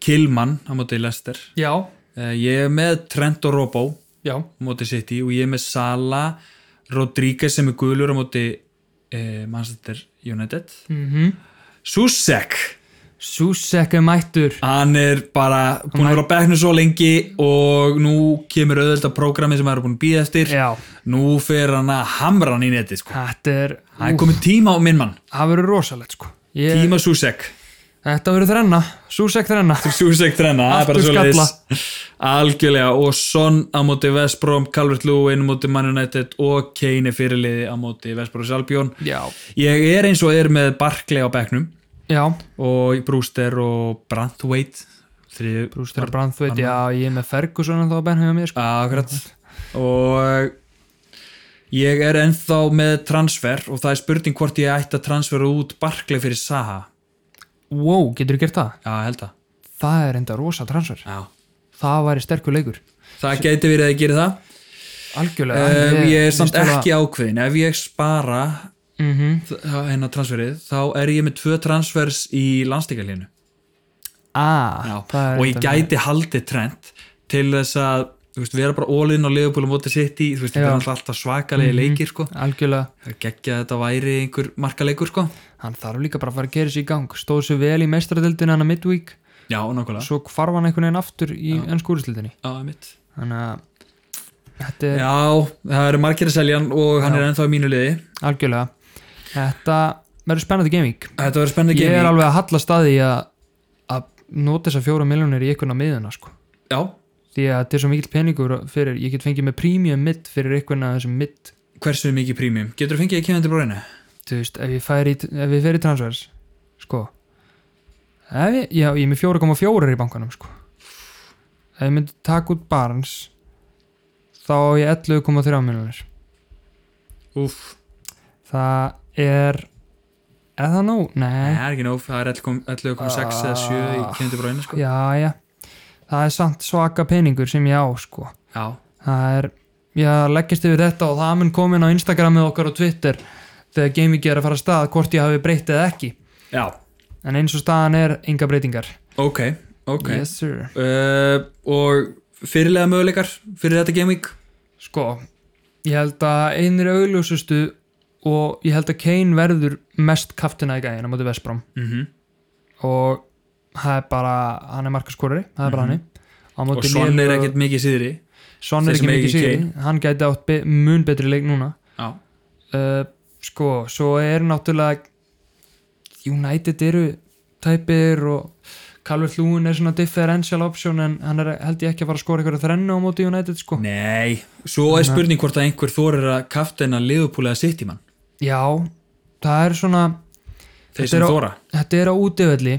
A: Kilman á móti Lester.
B: já,
A: Eh, Ég er með Trent og Robbo á
B: já,
A: móti City og ég er með Sala Rodríguez sem er gulur á móti eh, Manchester United
B: mhm
A: Susek
B: Susek er mættur
A: hann er bara búin að vera á bekknu svo lengi og nú kemur auðvitað prógramið sem hann er búin að býða eftir
B: já,
A: nú fer hann að hamra hann í neti sko.
B: þetta er
A: það er
B: úff,
A: komið tíma á minn mann
B: það verður rosalegt sko ég,
A: tíma Susek
B: þetta verður þrenna, Susek þrenna
A: Susek þrenna, það er bara
B: Aftur
A: svo
B: skalla.
A: leiðis algjörlega og Son á móti Vestbrom, Calvert Lewin á móti Man United og Kane er fyrirliði á móti Vestbrom Salbjón
B: já,
A: ég er eins og er með Barkley á bekknum
B: já,
A: og Brewster og Branthwaite þrið
B: Brústur Brandþveit já, ég er með Ferguson en þá benn hefur mér sko
A: akkurat og ég er ennþá með transfer og það er spurning hvort ég ætti að transfera út Barkley fyrir Saha
B: wow, getur þú gert það?
A: já, held það
B: það er enda rosa transfer
A: já.
B: það væri sterkur leikur,
A: það gæti verið að gera það
B: algjörlega
A: Uh, ég er samt
B: stöðva-
A: ekki ákveðin ef ég spara
B: Mhm.
A: þ- hérna transferið þá er ég með tvö transfers í landstíkarlínu
B: ah, það er
A: og ég
B: þetta með-
A: gæti haldið trend til þess að þú veist, vera bara all-in á liðbúlum mótið sitt í þú veist, þetta
B: Já. Mhm.
A: er náttúrulega alltaf svakalegi leikir sko.
B: algjörlega,
A: það er geggja að þetta væri einhver markaleikur sko.
B: hann þarf líka bara að fara að gera sér í gang stóð sér vel í meistradeldinu hann að midweek
A: já, nákvæmlega
B: svo farf hann einhvern veginn aftur í ennsku úrslildinni
A: já, einmitt.
B: þannig að þetta er
A: já, það eru markir að selja hann og hann er ennþá í mínu liði
B: algjörlega þetta verður spennandi gaming
A: þetta verður spennandi
B: ég er
A: gaming.
B: alveg að halla staði að, að nota þessar fjóra miljónir í einhvern á miðuna sko.
A: já,
B: því að þetta er svo mikill peningur fyrir, ég get fengið með premium mitt fyrir einhvern af þessum mitt
A: hversu mikið prímum getur þú fengið að kemja til bróinu?
B: þú veist, ef ég færi í- ef ég fer í transfers sko ef ég, já, ég er með 4,4 í bankanum sko ef ég myndi taka út Barnes þá á ég 11,3 miljonir
A: Úff,
B: það er er það nóg?
A: það
B: Nei,
A: er ekki nóg, það er 11,6 eða 7 í kemja til bróinu sko.
B: Ah. já, já það er samt svaka peningur sem ég á sko
A: já,
B: það er, ég leggist yfir þetta og það mun komin á Instagramið okkar og Twitter þegar gaming er að fara af stað hvort ég hafi breytt eða ekki
A: já
B: en eins og staðan er enga breytingar
A: ok, ok
B: yes sir
A: uh, og fyrirlega möguleikar fyrir þetta Game Week
B: sko, ég held að einir augljósustu og ég held að Kane verður mest kaftina í gæðin á móti Vesprám
A: mm -hmm.
B: og það er bara, hann er markaskorari það er bara hann á
A: Mhm. og
B: móti
A: Son er
B: lélegu-
A: ekkert mikið síðri
B: Son er
A: þeir
B: ekki
A: sem eiga
B: mikið
A: ekki
B: síðan hann gæti átt be mun betri leik núna
A: já,
B: uh, sko, svo er náttúrulega United eru tæpir og Calvert Lúin er svona differential option en hann er held ég ekki að fara að skora eitthvað þrennu á móti United sko
A: nei svo er spurning hvort að einhver þorir að kaftina liðupúlega sitt í mann
B: já, það er svona
A: þeir
B: Þetta
A: sem
B: er á-
A: þora
B: þetta er á útivelli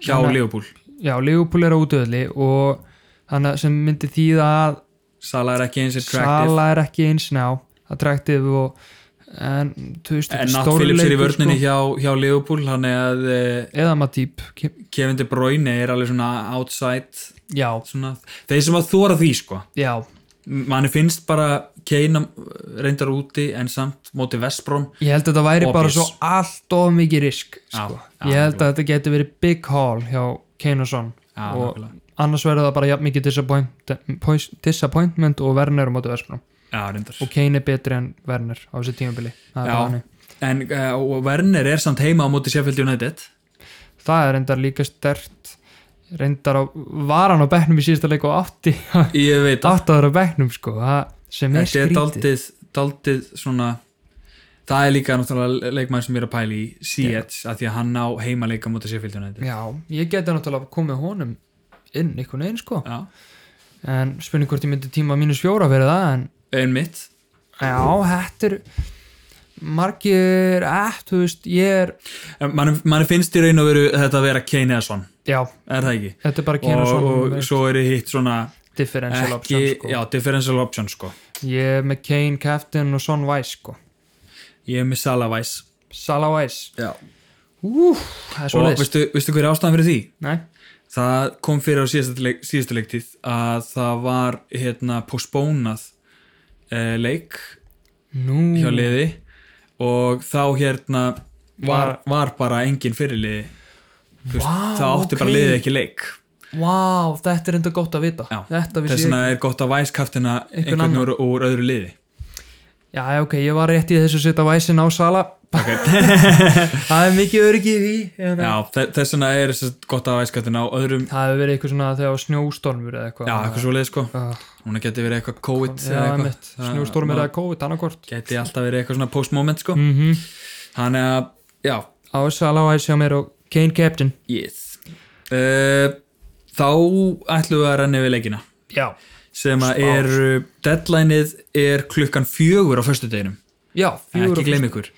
A: hjá
B: Þannig að-
A: liðupúl
B: já, Liverpool er á útivelli og þannig að sem myndi þýða að
A: Sala er ekki eins attractive
B: Sala er ekki eins ná attraktiv og en, þú veist,
A: en
B: þetta
A: Natt
B: stórleikur,
A: Phillips er í vörninni
B: sko.
A: hjá, hjá liðupúl hann er að eh,
B: eða Matip, Ke-
A: Kevin De Bruyne er alveg svona outside
B: já,
A: svona, þeir sem að þora því sko
B: já
A: manni finnst bara Keina reyndar úti en samt móti Vestbrón
B: Ég held að þetta væri bara
A: Obvious.
B: svo allt of mikið risk sko.
A: Já, já,
B: Ég held að þetta geti verið big haul hjá Kane og Son
A: Já,
B: og
A: nákvæmlega.
B: annars verður það bara jafn mikið disappoint, pois- disappointment og Werner á móti Vestbrá
A: já, reyndar
B: og Kane er betri en Werner á þessu tímabili það er, bara
A: já,
B: þannig.
A: en uh, og Werner er samt heima á móti Sheffield United
B: það er reyndar líka stert reyndar á varan á bekknum í síðasta leik og átti
A: ég veit að
B: áttaður á bekknum sko það sem
A: þetta
B: er
A: er
B: skrítið
A: daldið, daldið svona það er líka náttúrulega leikmæður sem ég er að pæla í Sietz að því að hann á heima leika móti Sheffield United
B: Já, ég geti náttúrulega komið honum inn einhvern veginn sko
A: já,
B: en spurning hvort ég myndi tíma mínus fjóra fyrir það en
A: einmitt
B: Já, þetta er margir, eh, þú veist, ég er
A: En manni, manni finnst í raun og veru þetta að vera Kane eða Son,
B: já,
A: er það ekki?
B: þetta er bara kynna
A: og,
B: svona
A: og svo er hitt svona
B: differential
A: ekki,
B: option, sko
A: já, differential option sko
B: ég er með Kane, Captain og Son Weiss, sko
A: ég er með Salah Weiss
B: Salah Weiss,
A: já.
B: úh, það er svo
A: og
B: leist
A: veistu, veistu hver er ástæðan fyrir því?
B: Nei,
A: það kom fyrir á síðastu, leik, síðastu leiktíð að það var hérna postpónað eh, leik
B: nú
A: hjá liði og þá hérna var, var bara engin fyrirliði Þú veist,
B: Vá,
A: það átti bara
B: ok.
A: liðið ekki leik
B: Vá, þetta er enda gott að vita
A: Já,
B: Þetta
A: þess
B: vissi ég
A: vegna er gott að væskaftina
B: Einhvern
A: einhvern
B: annan.
A: úr, úr öðru liði
B: Já, já, ok, ég var rétt í þessu að setja Weissin á Salah
A: okay.
B: Það er mikið öryggi í því en-
A: Já, þe- þess vegna er þess að gott að væskaftina á öðrum
B: Það hefur verið eitthvað svona þegar var snjóstormur eða eitthvað
A: Já, eitthvað svo leið sko
B: Ah.
A: Hún geti verið eitthvað COVID
B: Já,
A: eða eitthvað.
B: einmitt,
A: Það-
B: snjóstormur
A: maður
B: eða COVID, annarkort
A: Geti alltaf verið eitthvað svona post-moment sko
B: mm
A: Þannig að, já,
B: á Salah Weiss hjá mér og Kane Captain
A: yes uh, Þá ætlum við að renna yfir leikina
B: já,
A: sem að
B: Spár.
A: eru, deadlineið er klukkan fjögur á föstudeginum
B: já fjögur
A: ekki
B: og-
A: gleym ykkur,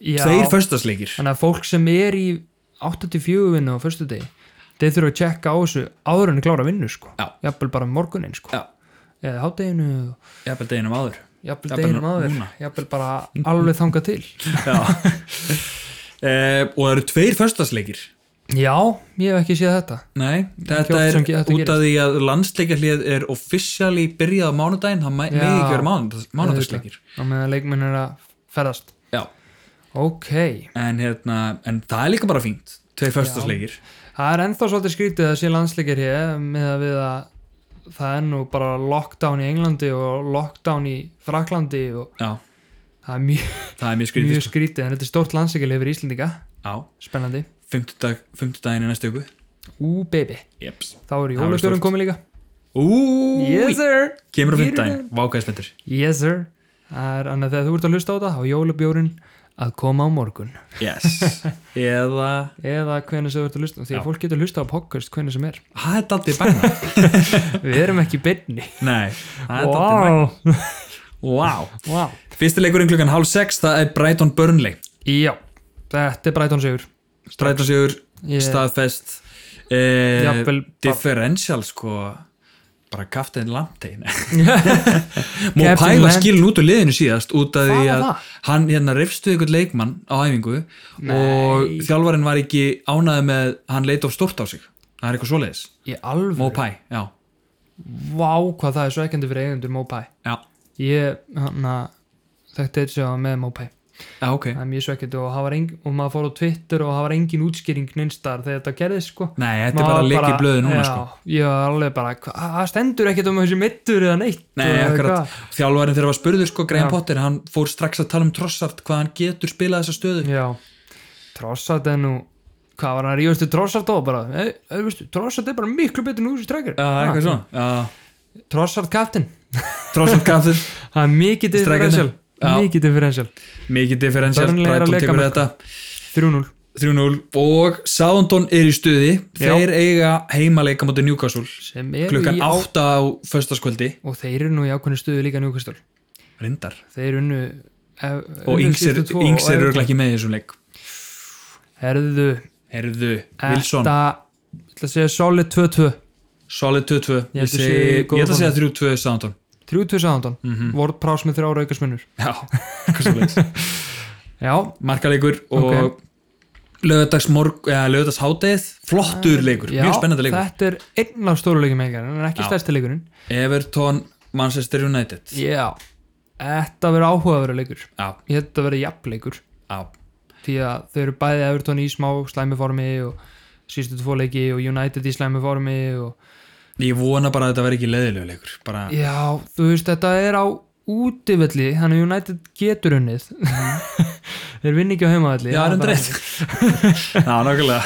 B: já,
A: þeir föstudagsleikir
B: þannig að fólk sem er í 84 vinnu á förstu degi þeir þurfa að tjekka á þessu áður en að klára vinnu sko,
A: Já.
B: jafnvel bara um morgunin sko
A: Já.
B: eða hátdeginu,
A: jafnvel deginum áður
B: jafnvel
A: Jafnvel
B: deginum áður
A: núna.
B: jafnvel bara alveg þanga til
A: Já uh, Og það eru tveir föstudagsleikir
B: já, ég hef ekki séð þetta
A: Nei, þetta
B: oft
A: er
B: sem ge- þetta
A: út af því að landsleikjarlið er officially byrjað á mánudaginn, það megi
B: Já.
A: ekki vera mánudags- mánudagsleikir
B: á meðan leikmenn er að ferðast
A: Já,
B: ok,
A: en hérna, en það er líka bara fínt tveir föstudagsleikir
B: það er ennþá svolítið skrítið að sé landsleikir hér með að við að það er nú bara lockdown í Englandi og lockdown í Fraklandi og
A: já,
B: það er mjög,
A: það er mjög skrítið
B: mjög
A: sko.
B: skrítið en þetta er stórt landsleikil hefur Íslendinga
A: já,
B: spennandi,
A: fimmtudag, fimmtudaginn í næstu ykkur
B: ú baby
A: jeps
B: þá eru
A: Það verður
B: jólastjórun
A: stórt.
B: komið líka
A: úúúú,
B: sir
A: kemur á fimmtudaginn vákaði spenntur,
B: yes sir það er annað þegar þú ert að hlusta á það á jólabjórin að koma á morgun
A: yes eða,
B: eða hvernig sem þú ert að hlusta því
A: Já.
B: að fólk getur að hlusta á podcast hvernig sem er
A: það er daldið bæna
B: við erum ekki byrni
A: nei, það er daldið bæna wow,
B: wow.
A: fyrsti leikurinn klukkan hálf sex, það er Brighton Burnley
B: já, þetta er Brighton sigur
A: Brighton sigur,
B: Ég-
A: staðfest eh,
B: Jafnvel bara-
A: differential sko bara kaftin Lamptey nei. Mó
B: Captain
A: Pæla
B: Lamb-
A: skilin út úr liðinu síðast út af
B: Hvað
A: því
B: var
A: að
B: það?
A: hann hérna rifstu ykkur leikmann á æfingu og þjálfarinn var ekki ánaði með hann leit of stórt á sig það er eitthvað svoleiðis,
B: í alveg
A: Mó Pæ já,
B: Vá, hvað það er svekkjandi fyrir eigendur Mopay
A: já,
B: Ég, hann að þetta er sér með Mopay
A: Já, ok.
B: það er mjög svekkjandi og, það var engin- og maður fór á Twitter og það var engin útskýring nynstaðar þegar þetta gerðist sko
A: Nei, þetta er
B: Maður
A: bara
B: var
A: að leika í blöðu núna,
B: já,
A: sko.
B: ég var alveg bara, hva- það stendur ekkert um þessi mittur eða neitt
A: Nei,
B: og
A: akkurat.
B: eitthvað.
A: Þjálfærin þegar var spurður, sko, Graham
B: Já.
A: Potter, hann fór strax að tala um trossart hvað hann getur spilað þessa stöðu.
B: já, trossat er nú hvað var hann ríðustu trossart og bara "Nei, eh, veistu, trossart er bara miklu betur nú þessi strækir
A: Já, eitthvað svona. Já,
B: trossart kaftin,
A: trossart gaf þér
B: það er mikið
A: Strikerinn.
B: differential
A: Já.
B: mikið differential,
A: mikið differential,
B: Burnley er að
A: Brighton
B: leika
A: tekur
B: mörk.
A: þetta.
B: 3-0
A: 3-0 og Southampton er í stuði þeir eiga heimaleika mútið Newcastle
B: sem er
A: klukkan
B: í
A: 8 á föstaskvöldi
B: og þeir eru nú í ákveðinu stuðu líka njúkastól
A: rindar
B: þeir unnu ef,
A: og
B: unnu
A: yngsir
B: síðustu tvo og
A: yngsir
B: ef-
A: eru ekki með í þessum leik
B: herðu,
A: Herðu, Wilson,
B: þetta ég ætla að segja solid 2-2
A: solid 2-2 ég,
B: Ég held að
A: segi-
B: sé
A: ég
B: góð
A: ætla að segja 3-2 Southampton
B: 3-2 sáðan,
A: Mhm.
B: Ward Prás með þrjá raukasminnur
A: já, hvað svo leiks
B: já,
A: markaleikur og
B: Ok.
A: okay. lögadagsmorg eða lögadagsháteið, flottur leikur
B: já
A: mjög spennandi leikur
B: þetta er einn af stóru leikum meikar en ekki
A: Já.
B: stærsti leikurinn
A: Everton, Manchester United
B: já, þetta verður áhugaverður leikur
A: já,
B: ég held að verður jafnleikur
A: já,
B: því að þau eru bæði Everton í smá slæmi formi og sístu tvo leiki og United í slæmi formi og
A: ég vona bara að þetta verði ekki leiðilegu leikur bara,
B: já, þú veist, þetta er á útivelli, þannig að United getur unnið þeir vinni Mhm. ekki á heimavelli
A: já,
B: það
A: erum
B: bara-
A: dreitt já, nákvæmlega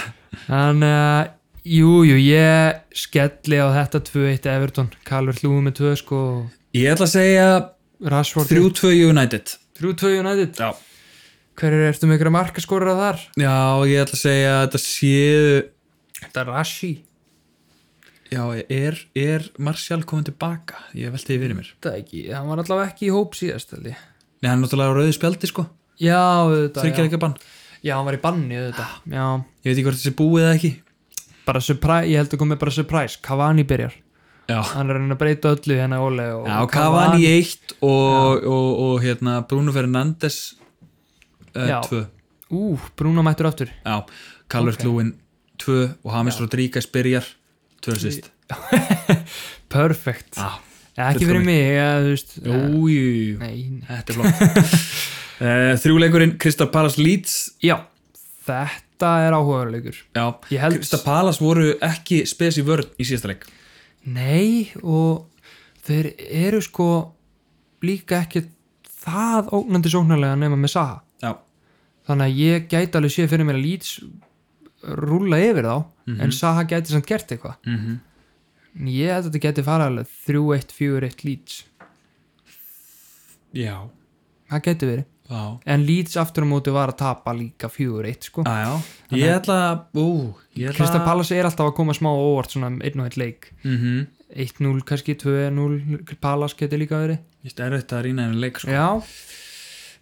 B: Þannig að, jú, jú, ég skelli á þetta 2-1 Everton, Calvert Lúi með 2 sko,
A: Ég ætla að segja
B: Rashford
A: 3-2 United
B: 3-2 United,
A: já.
B: hverju ertu með ykkur markaskorra þar?
A: já, ég ætla að segja að þetta séu
B: Þetta er Rashi
A: Já, er, er Martial komin tilbaka? Ég velti því fyrir mér
B: Þetta ekki, hann var allavega ekki í hóp síðast held ég.
A: Nei, hann er náttúrulega á rauði spjaldi sko
B: Já, auðvitað
A: Þryggja
B: já.
A: ekki bann
B: já, hann var í banni auðvitað Já,
A: Ég veit ekki hvort þessi búið eða ekki
B: bara surprise, ég held að komið bara surprise Cavani byrjar,
A: Já,
B: hann er að reyna að breyta öllu hérna Óle og
A: já Cavani 1 og, og, og, hérna Bruno Fernandes
B: Já.
A: 2
B: Ú, Bruno mættur aftur
A: Já, Calvert Lewin 2 og Hamis Rodríguez byrjar 2 sýst
B: Perfect,
A: Já,
B: ekki fyrir
A: fullkomið.
B: mig ég, þú veist,
A: jú, jú, jú.
B: nei, nei
A: Þetta er flott uh, Þrjúleikurinn Kristal Palace Leeds
B: Já, þetta er áhugaveruleikur
A: Já,
B: Ég held-
A: Krista Palas voru ekki spes í vörð í síðasta leik
B: Nei, og þeir eru sko líka ekki það ógnandi sóknarlega nema með Saha
A: Já,
B: þannig að ég gæti alveg séð fyrir mér að Leeds rúlla yfir þá en Saha gæti samt gert eitthvað en ég held að þetta gæti fara alveg 3-1, 4-1 Leeds
A: já,
B: það gæti verið,
A: já
B: en Leeds aftur á móti var að tapa líka 4-1 sko.
A: Já, já, ég ætla ú, ég ætla
B: Krista Pallas er alltaf að koma smá á óvart svona um einn og einn leik
A: Mhm.
B: 1-0 kannski, 2-0 Pallas geti líka verið
A: Ég er auðvitað að rýna henni leik sko.
B: Já,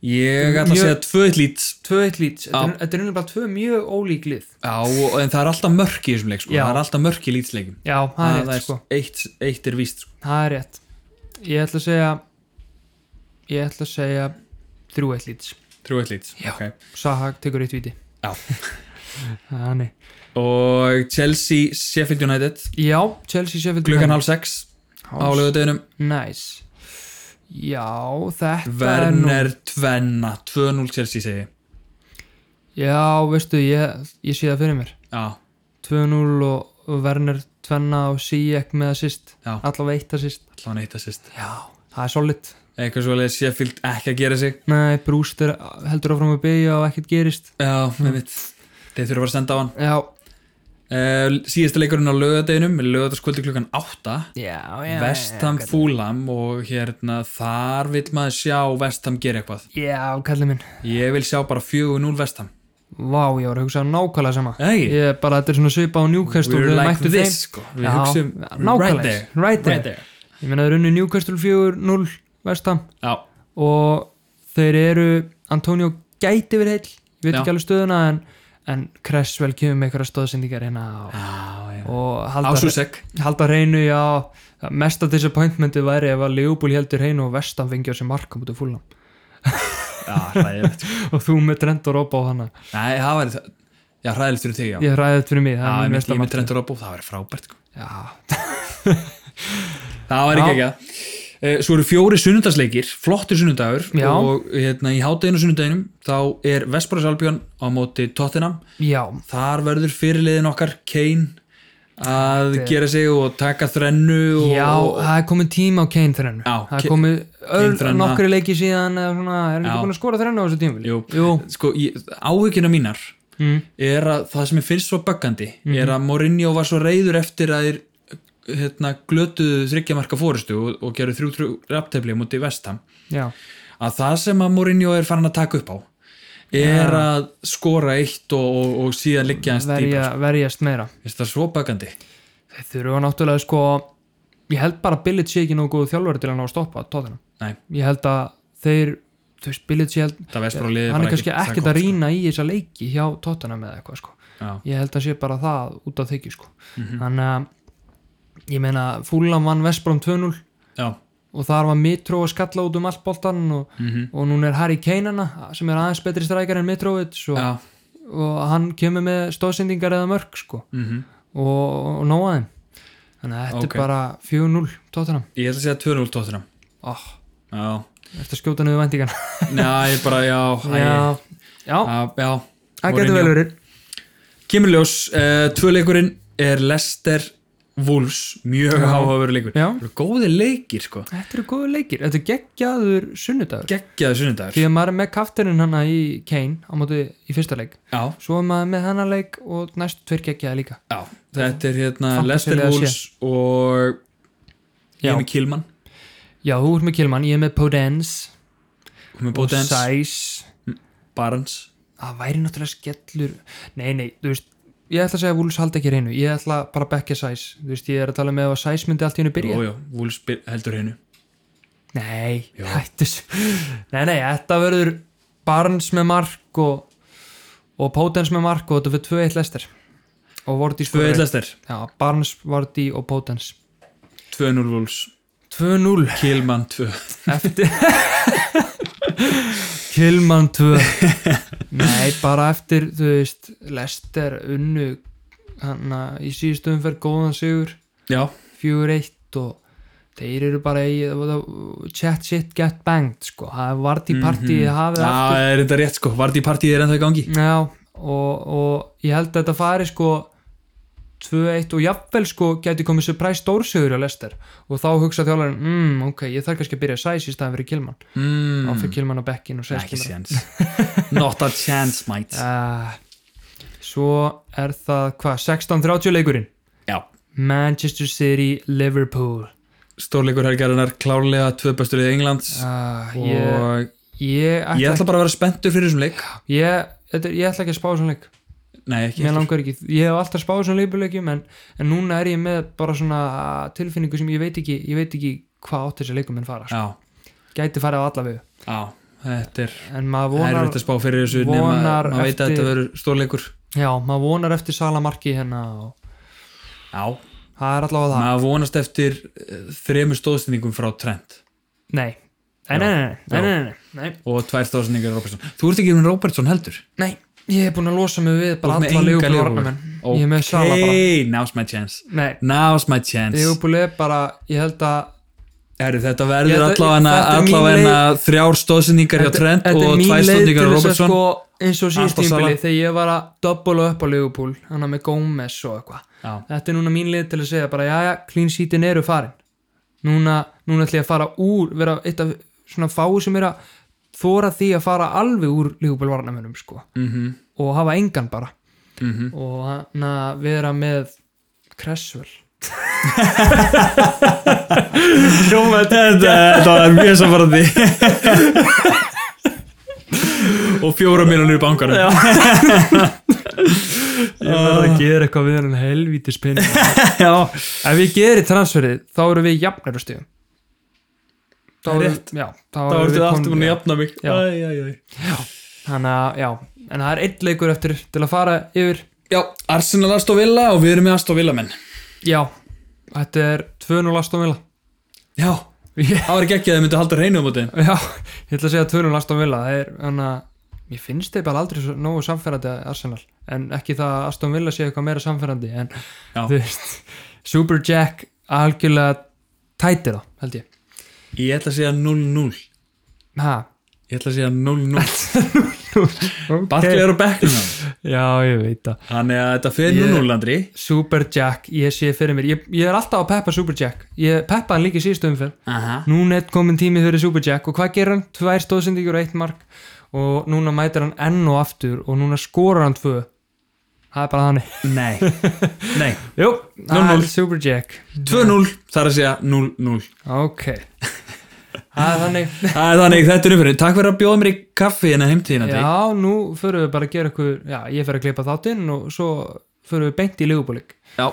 A: Ég ætla að
B: Ég-
A: segja tvö lít
B: 2-1 Leeds, þetta
A: Já.
B: er- þetta er einnig bara tvö mjög ólík lið
A: Já, og, en það er alltaf mörk í þessum leik sko.
B: Já.
A: Það er alltaf mörk í lýtsleikum
B: Já, það er rétt sko
A: eitt, eitt er víst sko.
B: Það er rétt Ég ætla að segja Ég ætla að segja 3-1 Leeds
A: Trú eitt lít
B: Já. Saha tekur eitt viti
A: Já.
B: Þannig
A: Og Chelsea Sheffield United
B: Já, Chelsea Sheffield
A: Klukkan hálf sex á lögadeginum
B: Nice Já, þetta er nú
A: Werner Tvenna 2-0 Chelsea segi ég.
B: Já, veistu, ég, ég sé það fyrir mér
A: Já,
B: 2-0 og, og Werner tvenna og Sijek með assist
A: Já.
B: Allavega eitt assist
A: allan eitt að sýst
B: Já, það er solid
A: Eitthvað svo leið Sheffield ekki að gera sig
B: Nei, Brewster heldur áfram að byggja og ekkert gerist
A: Já, með mitt Þeir þurfa að fara að senda á hann
B: Já,
A: uh, Síðasta leikurinn á lögadeginum Lögadagskvöldi klukkan 8
B: já, já
A: Vestham
B: já,
A: Fúlam og hérna þar vill maður sjá Vestham gera eitthvað
B: Já, kallið minn
A: Ég vil sjá bara 4-0 Vestham
B: Vá, ég var að hugsa nákvæmlega sama
A: Hey.
B: Ég er bara, þetta er svona svipa á Newcastle
A: We're
B: þegar
A: like
B: mættu
A: this sko.
B: þeim.
A: Við hugsum
B: já, nákvæmlega,
A: right there
B: right there. Ég meina þeir unni Newcastle 4-0 Vestam
A: Já,
B: og þeir eru Antonio gæti verið heill Ég veit
A: Já.
B: ekki alveg stöðuna en, en Cresswell kemur með eitthvað stóðsendingar hérna
A: Ah.
B: og,
A: já, já
B: og halda,
A: Ásusek
B: halda hreinu, já mesta disappointmenti væri ef að Leopold heldur hreinu og Vestam fengi á sig marka mútið fúlam
A: Já, hræðilegt sko.
B: og þú með Trent og Robbo á hana
A: Nei, það var Já, hræðilegt fyrir þig, já
B: ég ræði þetta fyrir mig
A: Já,
B: það
A: ég
B: er
A: myndi,
B: mesta
A: ég myndi
B: mark
A: trendur á bú, það væri frábært sko.
B: Já.
A: Það væri
B: Já.
A: ekki ekki Eh, Svo eru fjóri sunnundagsleikir, flottur sunnudagur
B: Já.
A: og hérna, í hátæðinu sunnudaginum þá er Vestbóra Salbjörn á móti Tottenham.
B: já,
A: Þar verður fyrirliðin okkar, Kane, að
B: er-
A: gera sig og taka þrennu og...
B: já, það er komið tíma á Kane þrennu
A: Já,
B: það
A: Ke-
B: er komið öll
A: þrenna.
B: nokkri leiki síðan eða svona, er hann
A: Já.
B: ekki búin að skora þrennu á þessu tíma
A: Jú, sko, ég, áhugina mínar
B: Mm.
A: er að það sem ég finnst svo böggandi
B: Mhm.
A: er að Mourinho var svo reyður eftir að þeir hérna, glötuðu þryggjamarka fórustu og, og gerðu þrjú þrjú rapptefli mútið vestam
B: já,
A: að það sem að Mourinho er farin að taka upp á er að skora eitt og, og, og síðan liggja hans dýpa
B: verja, verjast meira
A: Vist það er svo bakandi
B: þeir þurfa náttúrulega sko ég held bara að Billit sé ekki nógu góð þjálfur til að ná að stoppa tóðina
A: Nei,
B: ég held að þeir, þú veist, Billit sé held
A: það vestur á liðið bara sko.
B: hann er kannski
A: það
B: ekkert
A: gott,
B: að rýna í þessa leiki hjá Tottenham eða eitthvað sko
A: Já.
B: ég held að sé bara það út af þykju sko
A: Mhm.
B: þannig að ég meina Fúlam vann Vestbrom 2-0
A: sko. Já,
B: og þar var Mitró að skalla út um allt boltan og,
A: Mhm.
B: og núna er Harry Kane hana sem er aðeins betri strækar en Mitrovic og,
A: já,
B: og hann kemur með stóðsendingar eða mörg sko
A: mhm
B: og, og nóaðin þannig að þetta
A: Ok.
B: er bara 4-0 Tottenham
A: Ég ætla að segja 2-0 tóttina
B: oh,
A: Ah. Já,
B: eftir að skjóta niður vendingana
A: næ, bara já æ.
B: já, já,
A: Já, já
B: það getur vel verið
A: Kemur ljós, uh, tvö leikurinn er Lester Wolves Mjög áhugaveru leikur
B: Já.
A: Eru Góði leikir, sko
B: þetta eru góðu leikir, þetta er geggjaður sunnudagur
A: Geggjaði sunnudagur
B: því að maður er með kafturinn hana í Kane á móti í fyrsta leik
A: Já,
B: svo er maður með hennar leik og næstu tveir geggjaði líka
A: já, þetta er hérna
B: Fantasíulega
A: Lester
B: séð.
A: Wolves og
B: Já.
A: Jimmy Kilman
B: já, þú ert með Kilman, ég er með Podence
A: með
B: og
A: Bótens,
B: Sæs
A: Barnes
B: það væri náttúrulega skellur nei, nei, þú veist ég ætla að segja að Wolves haldi ekki reynu, ég ætla bara að bekka Sæs þú veist, ég er að tala með að Sæs myndi allt í hennu byrja
A: Jújú, Wolves byr- heldur hennu
B: nei, hættus nei, nei, þetta verður Barnes með mark og, og Podence með mark og þetta fyrir tvö eitt lestir og Vorti
A: Tvö eitlastir,
B: Já, Barnes, Vardy og Potens
A: 2-0 Wolves
B: 2-0
A: Kilman 2
B: eftir Kilman 2 Nei, bara eftir þú veist, Lester unnu hann í síðustu umferð góðan sigur,
A: Já,
B: 4-1 og þeir eru bara í chat shit get banged sko, það er Vardy partíið hafið aftur
A: það er þetta rétt sko Vardí partíð er ennþá í gangi
B: Já, og, og ég held að þetta fari sko 2-1 og jafnvel sko geti komið surprise stórsögur á Lester og þá hugsa þjálfarinn, mm, ok, ég þarf kannski að byrja sæs í staðan fyrir Kilman
A: mm,
B: þá fyrir Kilman á bekkin og sæs
A: Ekki séns Not a chance, mate
B: uh, Svo er það hvað, 16-30 leikurinn
A: Já,
B: Manchester City, Liverpool
A: stórleikur helgarinnar klárlega tvö bestu liðið Englands
B: uh,
A: og
B: ég, ég, ætla,
A: ég ætla bara að vera spenntur fyrir þessum leik
B: ég, þetta, ég ætla ekki að spá svona leik
A: Nei, ekki
B: Mér
A: ekki.
B: langar ekki, ég hef alltaf spáð svona leipuleikjum en, en núna er ég með bara svona tilfinningu sem ég veit ekki, ég veit ekki hvað átt þessi leikum minn fara, sko.
A: Já,
B: gæti farið á alla við
A: já, þetta er
B: en maður vonar,
A: erfitt að spá fyrir þessu nema
B: vonar
A: maður veit að
B: eftir-
A: þetta verður stórleikur
B: já, maður vonar eftir salamarki hérna og
A: Já,
B: það er allavega það,
A: maður vonast eftir eh, þremur stóðsendingum frá Trent
B: nei nei, nei, nei, nei,
A: Já.
B: nei, nei, nei,
A: og tvær stóðsendingar Robertson Þú ert ekki með Robertson heldur
B: nei, ég hef búin að losa mig við bara
A: Þú ert með
B: alla
A: enga
B: leikum
A: Liverpool.
B: varnamenn, ég hef með sala bara
A: Ok, now's my chance
B: nei,
A: Now's my chance
B: leikum er bara, ég held að
A: Herru, þetta
B: Ég-
A: verður
B: þetta-
A: allavega
B: þetta er mín
A: allavega
B: leið-
A: þrjár stóðsendingar hjá Trent
B: þetta er
A: og
B: mín
A: tvær
B: leið til
A: stóðsendingar
B: þess að
A: Robertson
B: sko, eins og síðust
A: Alltaf
B: tímbili
A: Salah.
B: þegar ég var að dobbula upp á Liverpool hann með Gómez og eitthvað
A: Já.
B: þetta er núna mín leið til að segja bara jæja, clean sheetin eru farin núna, núna ætlum ég að fara úr vera eitt af svona fáu sem er að þóra því að fara alveg úr Liverpool varnamönum sko
A: Mhm.
B: -hmm. og hafa engan bara -hmm. og hann að vera með Cresswell
A: Hljóma þetta Þetta var mjög samfarrandi Og fjóra miljonir í bankanum
B: ég verður að gera eitthvað við hann helvíti spinn
A: Ah. Já,
B: Ef ég geri transferið, þá eru við jafnir á stíðum Þá eru
A: Rétt.
B: Já, þá
A: þá
B: eru
A: ertu
B: við
A: aftur búin
B: komin
A: að jafna mig
B: Já.
A: Æ, æ, æ.
B: Þannig að, já, en það er einn leikur eftir til að fara yfir
A: Já, Arsenal Aston Villa og við erum með Aston Villa menn
B: Já, þetta er 2-0 Aston Villa
A: Já, það var ekki ekki að þið myndu halda um reynu á móti þeim.
B: Já, ég ætla að segja 2-0 Aston Villa Það er, þannig að, mér finnst þeir bara aldrei svo, nógu samferðandi að Arsenal En ekki það að Aston Villa sé eitthvað meira samferðandi En,
A: Já.
B: þú veist, Super Jack algjörlega tæti þá, held ég
A: Ég ætla að segja 0-0
B: ha,
A: Ég ætla að segja 0-0
B: ok
A: Ballið er á bekknum á honum.
B: já, ég veit það
A: Þannig að þetta fer
B: Ég-
A: 0-0 Andri
B: Superjack, ég sé fyrir mér ég, ég er alltaf að peppa Superjack ég peppa hann líka í síðustu umferð
A: Aha.
B: núna er komin tími fyrir Superjack og hvað gerir hann? Tvær stóðsendingur og eitt mark og núna mætir hann enn og aftur og núna skorar hann tvö það er bara þannig
A: Nei, nei
B: Jú, það
A: 0-0.
B: er Superjack
A: 2-0 Það er að segja 0-0
B: ok það er þannig
A: Það er þannig, þetta er umfyrir Takk fyrir að bjóða mér í kaffi hérna heimtíðin Andri
B: já, nú förum við bara að gera ykkur já, ég fer að klippa þáttinn og svo förum við beint í Ligubúlik
A: Já,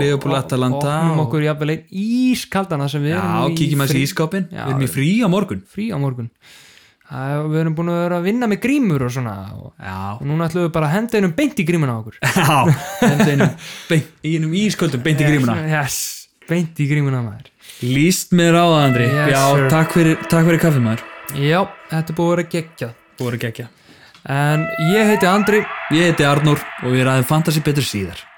A: Liverpool, Atalanta
B: og opnum
A: og-
B: okkur jafnvel einn ískaldana sem við
A: já
B: erum nú
A: kíkjum að þessi
B: frí-
A: í ískápin
B: Já,
A: Við erum í frí á morgun
B: frí á morgun það, við erum búin að vera að vinna með grímur og svona og,
A: Já,
B: og núna ætlum við bara að henda einum beint í grímuna á okkur
A: já Þetta einum, beint, einum ísköldum beint í grímuna
B: yes, beint í grímuna maður
A: Líst mér á það Andri
B: Yes, sir.
A: Já, takk fyrir, takk fyrir kaffi maður
B: já, þetta er búið að vera geggjað
A: Þú voru gekkja
B: en ég heiti Andri
A: Ég heiti Arnór og við ræðum fantasy betur síðar